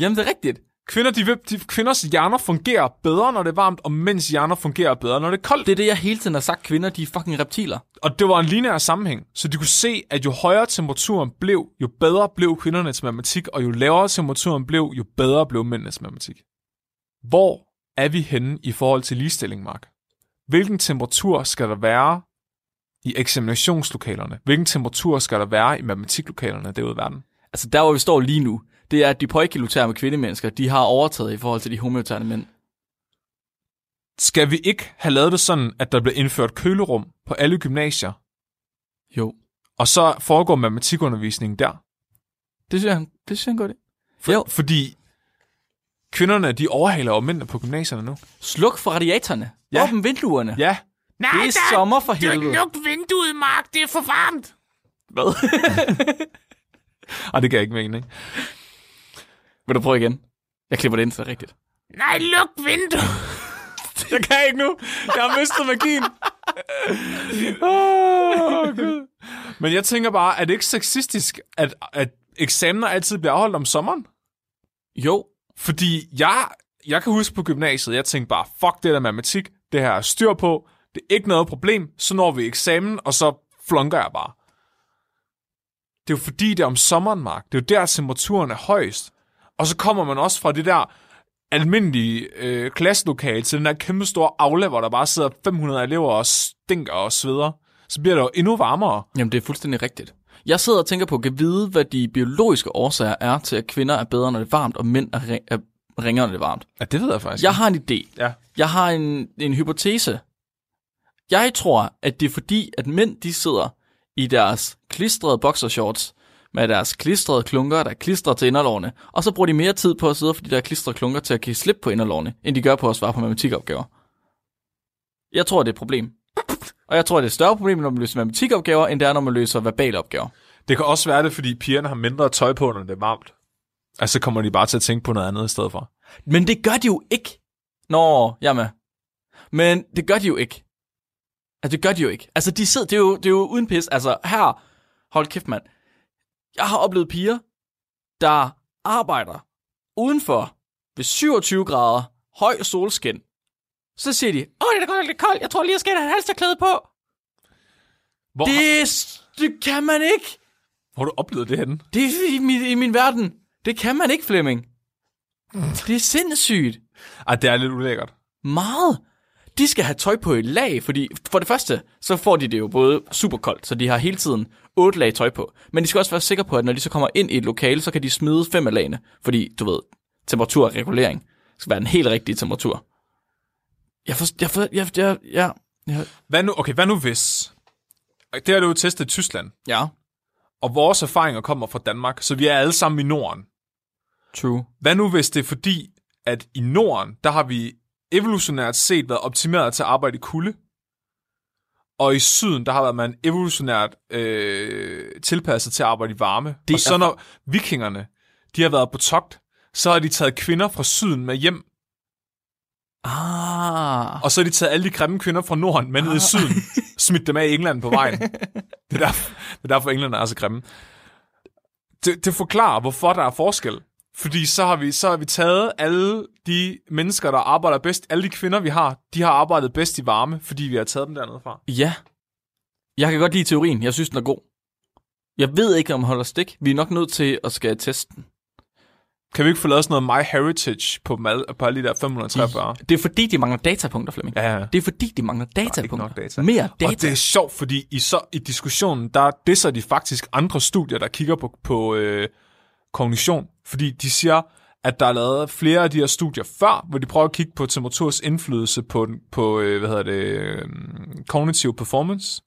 S3: Jamen, det er rigtigt.
S2: Kvinder, de, vil- de, kvinders hjerner fungerer bedre, når det er varmt, og mænds hjerner fungerer bedre, når det er koldt.
S3: Det er det, jeg hele tiden har sagt. Kvinder, de er fucking reptiler.
S2: Og det var en lineær sammenhæng, så de kunne se, at jo højere temperaturen blev, jo bedre blev kvindernes matematik, og jo lavere temperaturen blev, jo bedre blev mændenes matematik. Hvor er vi henne i forhold til ligestilling, Mark? Hvilken temperatur skal der være i eksaminationslokalerne? Hvilken temperatur skal der være i matematiklokalerne derude i verden?
S3: Altså, der hvor vi står lige nu, det er, at de poikiloterme kvindemennesker, de har overtaget i forhold til de homoterme mænd.
S2: Skal vi ikke have lavet det sådan, at der bliver indført kølerum på alle gymnasier,
S3: Jo.
S2: og så foregår matematikundervisningen der?
S3: Det synes jeg, det synes jeg er en god idé.
S2: For,
S3: Jo.
S2: Fordi kvinderne, de overhaler jo mændene på gymnasierne nu.
S3: Sluk for radiatorerne. Ja.
S2: Ja.
S3: Åbn vinduerne.
S2: Ja. Nej,
S3: Det er sommer for helvede.
S2: vinduet, Mark. Det er for varmt. Hvad? Ej, det kan jeg ikke mening.
S3: Vil du prøve igen? Jeg klipper det ind, så det er rigtigt.
S2: Nej, luk vinduet. jeg kan ikke nu. Jeg har mistet magien. oh, Gud. Men jeg tænker bare, er det ikke sexistisk, at, at eksamener altid bliver afholdt om sommeren?
S3: Jo,
S2: Fordi jeg, jeg kan huske på gymnasiet, jeg tænkte bare, fuck det der matematik, det her er styr på, det er ikke noget problem, så når vi eksamen, og så flunker jeg bare. Det er jo fordi, det er om sommeren, Mark. Det er jo der, temperaturen er højst. Og så kommer man også fra det der almindelige øh, klasselokale til den der kæmpe store aula, hvor der bare sidder 500 elever og stinker og sveder. Så bliver det jo endnu varmere.
S3: Jamen, det er fuldstændig rigtigt. Jeg sidder og tænker på, kan vide, hvad de biologiske årsager er til, at kvinder er bedre, når det er varmt, og mænd er, ri- er ringere, når det er varmt.
S2: Ja, det ved jeg faktisk.
S3: Jeg har en idé.
S2: Ja.
S3: Jeg har en, en hypotese. Jeg tror, at det er fordi, at mænd de sidder i deres klistrede boxershorts med deres klistrede klunker, der er klistret til inderlårene, og så bruger de mere tid på at sidde for de der klistrede klunker til at give slip på inderlårene, end de gør på at svare på matematikopgaver. Jeg tror, det er et problem. Og jeg tror, det er et større problem, når man løser matematikopgaver, end det er, når man løser verbale opgaver.
S2: Det kan også være det, fordi pigerne har mindre tøj på, når det er varmt. Altså, så kommer de bare til at tænke på noget andet i stedet for.
S3: Men det gør de jo ikke. Nå, jeg er med. Men det gør de jo ikke. Altså, det gør de jo ikke. Altså, de sidder, det, er jo, det er jo uden pis. Altså, her, hold kæft, mand. Jeg har oplevet piger, der arbejder udenfor ved 27 grader, høj solskin. Så siger de, åh, det er da godt nok lidt koldt, jeg tror lige, jeg skal have et halsterklæde på.
S2: Hvor,
S3: Det, s- det kan man ikke.
S2: hvor har du oplevet det henne?
S3: Det er i min, i min verden. Det kan man ikke, Flemming. Det er sindssygt.
S2: Ej, det er lidt ulækkert.
S3: Meget. De skal have tøj på i lag, fordi for det første, så får de det jo både super koldt, så de har hele tiden otte lag tøj på. Men de skal også være sikre på, at når de så kommer ind i et lokale, så kan de smide fem af lagene, fordi du ved, temperatur og regulering skal være den helt rigtige temperatur. Jeg for, jeg for, jeg, jeg, jeg, jeg,
S2: Hvad nu, okay, hvad nu hvis? Det har du jo testet i Tyskland,
S3: ja,
S2: og vores erfaringer kommer fra Danmark, så vi er alle sammen i Norden.
S3: true.
S2: Hvad nu hvis det er fordi, at i Norden, der har vi evolutionært set været optimeret til at arbejde i kulde, og i syden, der har været man evolutionært øh, tilpasset til at arbejde i varme. Det og så når vikingerne, de har været på togt, så har de taget kvinder fra syden med hjem,
S3: Ah,
S2: og så har de taget alle de grimme kvinder fra Norden med ned i syden, smidt dem af i England på vejen. Det er derfor, det er derfor England er så grimme. Det, det forklarer, hvorfor der er forskel. Fordi så har, vi, så har vi taget alle de mennesker, der arbejder bedst, alle de kvinder, vi har, de har arbejdet bedst i varme, fordi vi har taget dem dernede fra.
S3: ja. Jeg kan godt lide teorien, jeg synes, den er god. Jeg ved ikke, om den holder stik. Vi er nok nødt til at skal teste den.
S2: Kan vi ikke få lavet sådan noget My Heritage på, mal, på alle de der 543?
S3: Det er fordi, de mangler datapunkter, Flemming.
S2: Ja, ja.
S3: Det er fordi, de mangler
S2: ikke
S3: datapunkter.
S2: nok data.
S3: Mere data.
S2: Og det er sjovt, fordi i, så, i diskussionen, der disser de faktisk andre studier, der kigger på, på øh, kognition. Fordi de siger, at der er lavet flere af de her studier før, hvor de prøver at kigge på temperaturs indflydelse på, den- på øh, hvad hedder det, øh, kognitiv performance.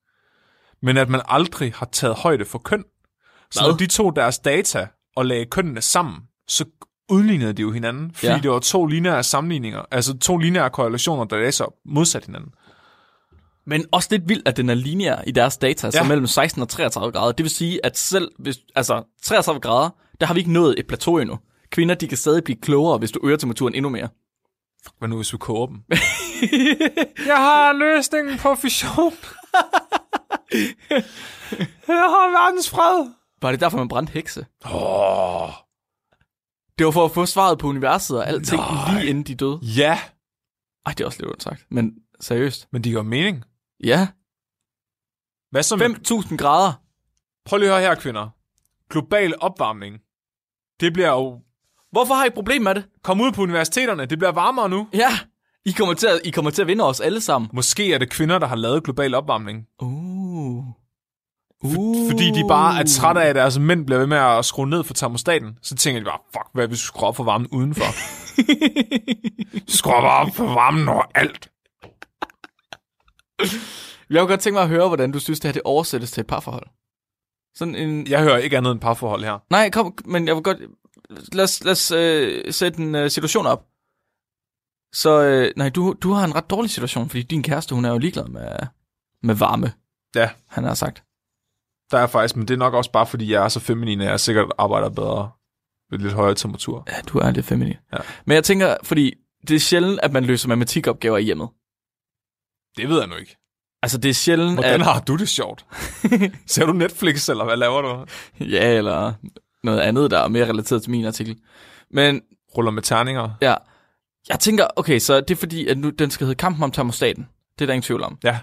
S2: Men at man aldrig har taget højde for køn. Så
S3: Hvad?
S2: når de tog deres data og lagde kønnene sammen, så udlignede de jo hinanden, fordi
S3: Ja.
S2: ja. det var to lineære sammenligninger, altså to lineære korrelationer, der læser modsat hinanden.
S3: Men også lidt vildt, at den er lineær i deres data, så
S2: Ja.
S3: mellem 16 og 33 grader. Det vil sige, at selv hvis, altså 33 grader, der har vi ikke nået et plateau endnu. Kvinder, de kan stadig blive klogere, hvis du øger temperaturen endnu mere.
S2: Hvad nu, hvis vi koger dem? jeg har løsningen på fission. jeg har verdens fred.
S3: Var det derfor, man brændte hekse?
S2: Åh,
S3: Det var for at få svaret på universet og alting
S2: Nej.
S3: Nej. lige inden de døde.
S2: ja,
S3: Ej, det er også lidt ondt sagt. Men seriøst.
S2: men det giver mening.
S3: Ja.
S2: Hvad så med...
S3: 5.000 grader.
S2: Prøv lige at høre her, kvinder. Global opvarmning. Det bliver jo...
S3: Hvorfor har I et problem med det?
S2: Kom ud på universiteterne, det bliver varmere nu.
S3: Ja. I kommer til at, I kommer til at vinde os alle sammen.
S2: Måske er det kvinder, der har lavet global opvarmning.
S3: Uh.
S2: Uh. Fordi de bare er trætte af, at deres mænd bliver ved med at skrue ned for termostaten. Så tænker de bare, fuck, hvad hvis vi skruer op for varmen udenfor? skruer bare op for varmen over alt.
S3: Jeg kunne godt tænke mig at høre, hvordan du synes, det her det oversættes til et parforhold. Sådan en...
S2: Jeg hører ikke andet end parforhold her.
S3: Nej, kom, men jeg vil godt... Lad os, lad os øh, sætte en øh, situation op. Så, øh, nej, du, du har en ret dårlig situation, fordi din kæreste, hun er jo ligeglad med, med varme,
S2: Ja,
S3: han har sagt.
S2: der er faktisk, men det er nok også bare, fordi jeg er så feminin, at jeg sikkert arbejder bedre ved lidt højere temperatur.
S3: Ja, du er lidt feminin.
S2: Ja.
S3: Men jeg tænker, fordi det er sjældent, at man løser matematikopgaver i hjemmet.
S2: Det ved jeg nu ikke.
S3: Altså, det er sjældent,
S2: Hvordan
S3: at...
S2: har du det sjovt? Ser du Netflix, eller hvad laver du?
S3: Ja, eller noget andet, der er mere relateret til min artikel. Men
S2: Ruller med terninger?
S3: Ja. Jeg tænker, okay, så det er fordi, at nu den skal hedde Kampen om termostaten. Det er der ingen tvivl om.
S2: Ja.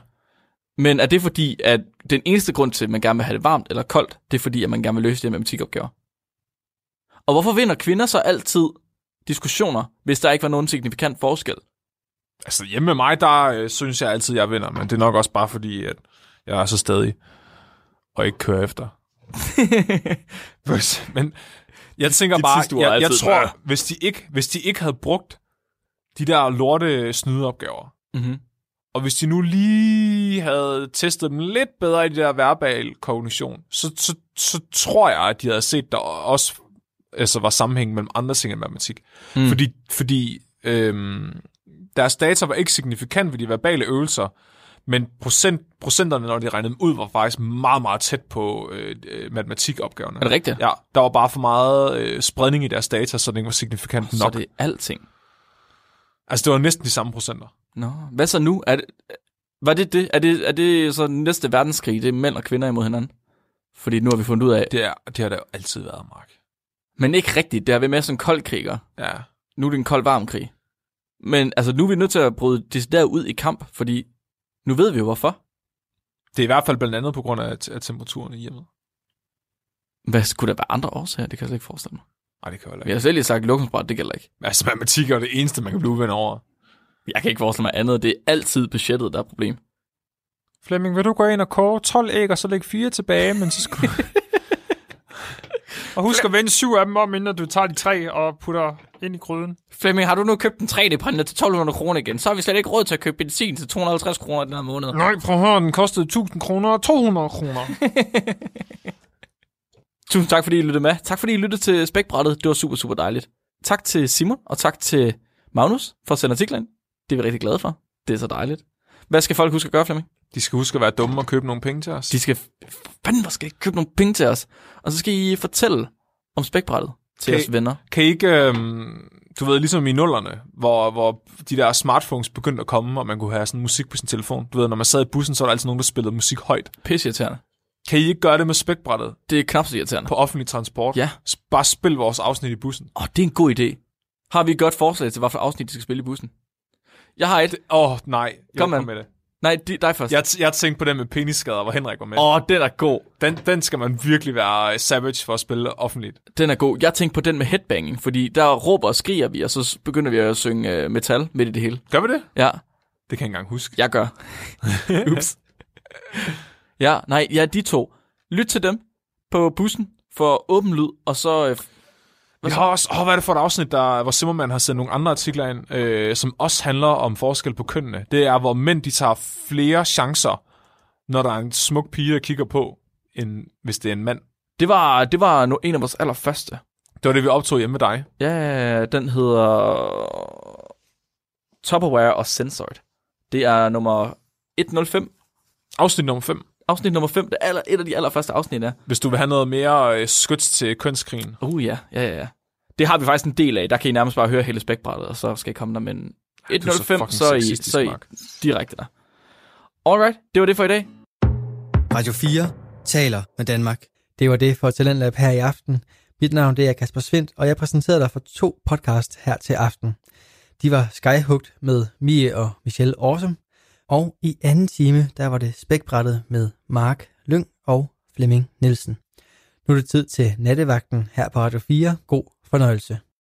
S3: Men er det fordi, at den eneste grund til, at man gerne vil have det varmt eller koldt, det er fordi, at man gerne vil løse de her matematikopgaver? Og hvorfor vinder kvinder så altid diskussioner, hvis der ikke var nogen signifikant forskel?
S2: Altså hjemme med mig, der øh, synes jeg altid, jeg vinder, men det er nok også bare fordi, at jeg er så stadig og ikke kører efter. Hvis- men jeg tænker
S3: Dit sidste ord
S2: bare,
S3: er
S2: jeg, jeg
S3: altid, "Nå ja."
S2: tror, hvis de, ikke, hvis de ikke havde brugt de der lorte snydeopgaver,
S3: Mm-hmm.
S2: og hvis de nu lige havde testet dem lidt bedre i det der verbal kognition, så, så, så tror jeg, at de havde set, der også altså, var sammenhæng mellem andre ting end matematik. Mm. Fordi, fordi øhm, deres data var ikke signifikant ved de verbale øvelser, men procent, procenterne, når de regnede dem ud, var faktisk meget, meget tæt på øh, øh, matematikopgaverne.
S3: Er det rigtigt?
S2: Ja, der var bare for meget øh, spredning i deres data, så det ikke var signifikant
S3: Så
S2: nok.
S3: det
S2: Det...
S3: er alting.
S2: Altså, det var næsten de samme procenter.
S3: Nå, hvad så nu? Er det, var det det? Er det, er det så næste verdenskrig, det er mænd og kvinder imod hinanden? Fordi nu har vi fundet ud af,
S2: Det, er, det har der jo altid været, Mark.
S3: men ikke rigtigt, det er ved med sådan en kold kriger.
S2: Ja.
S3: nu er det en kold varm krig. Men altså, nu er vi nødt til at bryde det der ud i kamp, fordi nu ved vi jo hvorfor.
S2: Det er i hvert fald blandt andet på grund af, af temperaturen i hjemmet.
S3: Hvad skulle der være andre årsager? Det kan jeg slet ikke forestille mig.
S2: Nej, det kan jeg heller
S3: Vi
S2: ikke.
S3: har selv lige sagt luksusbræt, det gælder ikke.
S2: Ja. Altså, matematik er jo det eneste, man kan blive uven over.
S3: Jeg kan ikke forestille mig andet. Det er altid budgettet, der er et problem.
S2: Flemming, vil du gå ind og koge 12 æg, og så lægge fire tilbage, men så skal du... og husk at vende syv af dem om, inden du tager de tre og putter ind i gryden.
S3: Flemming, har du nu købt en 3D-printer til 1200 kroner igen? Så har vi slet ikke råd til at købe benzin til 250 kroner den her måned.
S2: Nej, prøv at høre, den kostede 1000 kroner og 200 kroner.
S3: Tusind tak, fordi I lyttede med. Tak, fordi I lyttede til Spækbrættet. Det var super, super dejligt. Tak til Simon, og tak til Magnus for at sende artiklen. Det er vi rigtig glade for. Det er så dejligt. Hvad skal folk huske at gøre, Flemming?
S2: De skal huske at være dumme og købe nogle penge til os.
S3: De skal, fanden, hvor skal I købe nogle penge til os? Og så skal I fortælle om spækbrættet til
S2: Okay.
S3: okay. jeres venner.
S2: Kan I ikke, øhm, du ved, ligesom i nullerne, hvor, hvor de der smartphones begyndte at komme, og man kunne have sådan musik på sin telefon. Du ved, når man sad i bussen, så var der altid nogen, der spillede musik højt.
S3: Pisse irriterende.
S2: Kan I ikke gøre det med spækbrættet
S3: Det er knap så irriterende.
S2: på offentlig transport?
S3: Ja.
S2: S- Bare spil vores afsnit i bussen.
S3: Åh, oh, det er en god idé. Har vi et godt forslag til, hvad for afsnit, de skal spille i bussen? Jeg har et.
S2: Åh, oh, nej. Jeg
S3: Kom,
S2: vil komme
S3: mand.
S2: med det.
S3: Nej, de, dig først.
S2: Jeg, t- jeg tænkte på den med penisskader, hvor Henrik var med.
S3: Åh, oh, den er god.
S2: Den, den skal man virkelig være øh, savage for at spille offentligt.
S3: Den er god. Jeg tænkte på den med headbanging, fordi der råber og skriger vi, og så s- begynder vi at synge uh, metal midt i det hele.
S2: Gør vi det?
S3: Ja,
S2: Det kan jeg ikke engang huske.
S3: jeg gør. Ups. ja, nej, ja, de to. Lyt til dem på bussen for åben lyd, og så øh,
S2: Vi har også, åh, hvad er det for et afsnit, der, hvor Simmermann har sendt nogle andre artikler ind, øh, som også handler om forskel på kønnene. Det er, hvor mænd de tager flere chancer, når der er en smuk pige, der kigger på, end hvis det er en mand.
S3: Det var, det var nu en af vores allerførste.
S2: Det var det, vi optog hjemme med dig.
S3: Ja, den hedder Tupperware og Censored. Det er nummer 105,
S2: Afsnit nummer 5.
S3: afsnit nummer 5. Det er aller, et af de allerførste afsnit er.
S2: Hvis du vil have noget mere øh, skyds til kønskrigen.
S3: Uh ja, ja, ja, ja. Det har vi faktisk en del af. Der kan I nærmest bare høre hele spækbrættet, og så skal jeg komme der med en 105,
S2: fucking
S3: så, er I,
S2: sexistisk,
S3: så er I
S2: Mark.
S3: direkte der. Alright, det var det for i dag.
S1: Radio 4 taler med Danmark. Det var det for Talentlab her i aften. Mit navn det er Kasper Svendt, og jeg præsenterede dig for to podcast her til aften. De var Skyhugt med Mie og Michelle Awesome, og i anden time, der var det Spækbrættet med Mark Lyng og Flemming Nielsen. Nu er det tid til nattevagten her på Radio 4. God fornøjelse.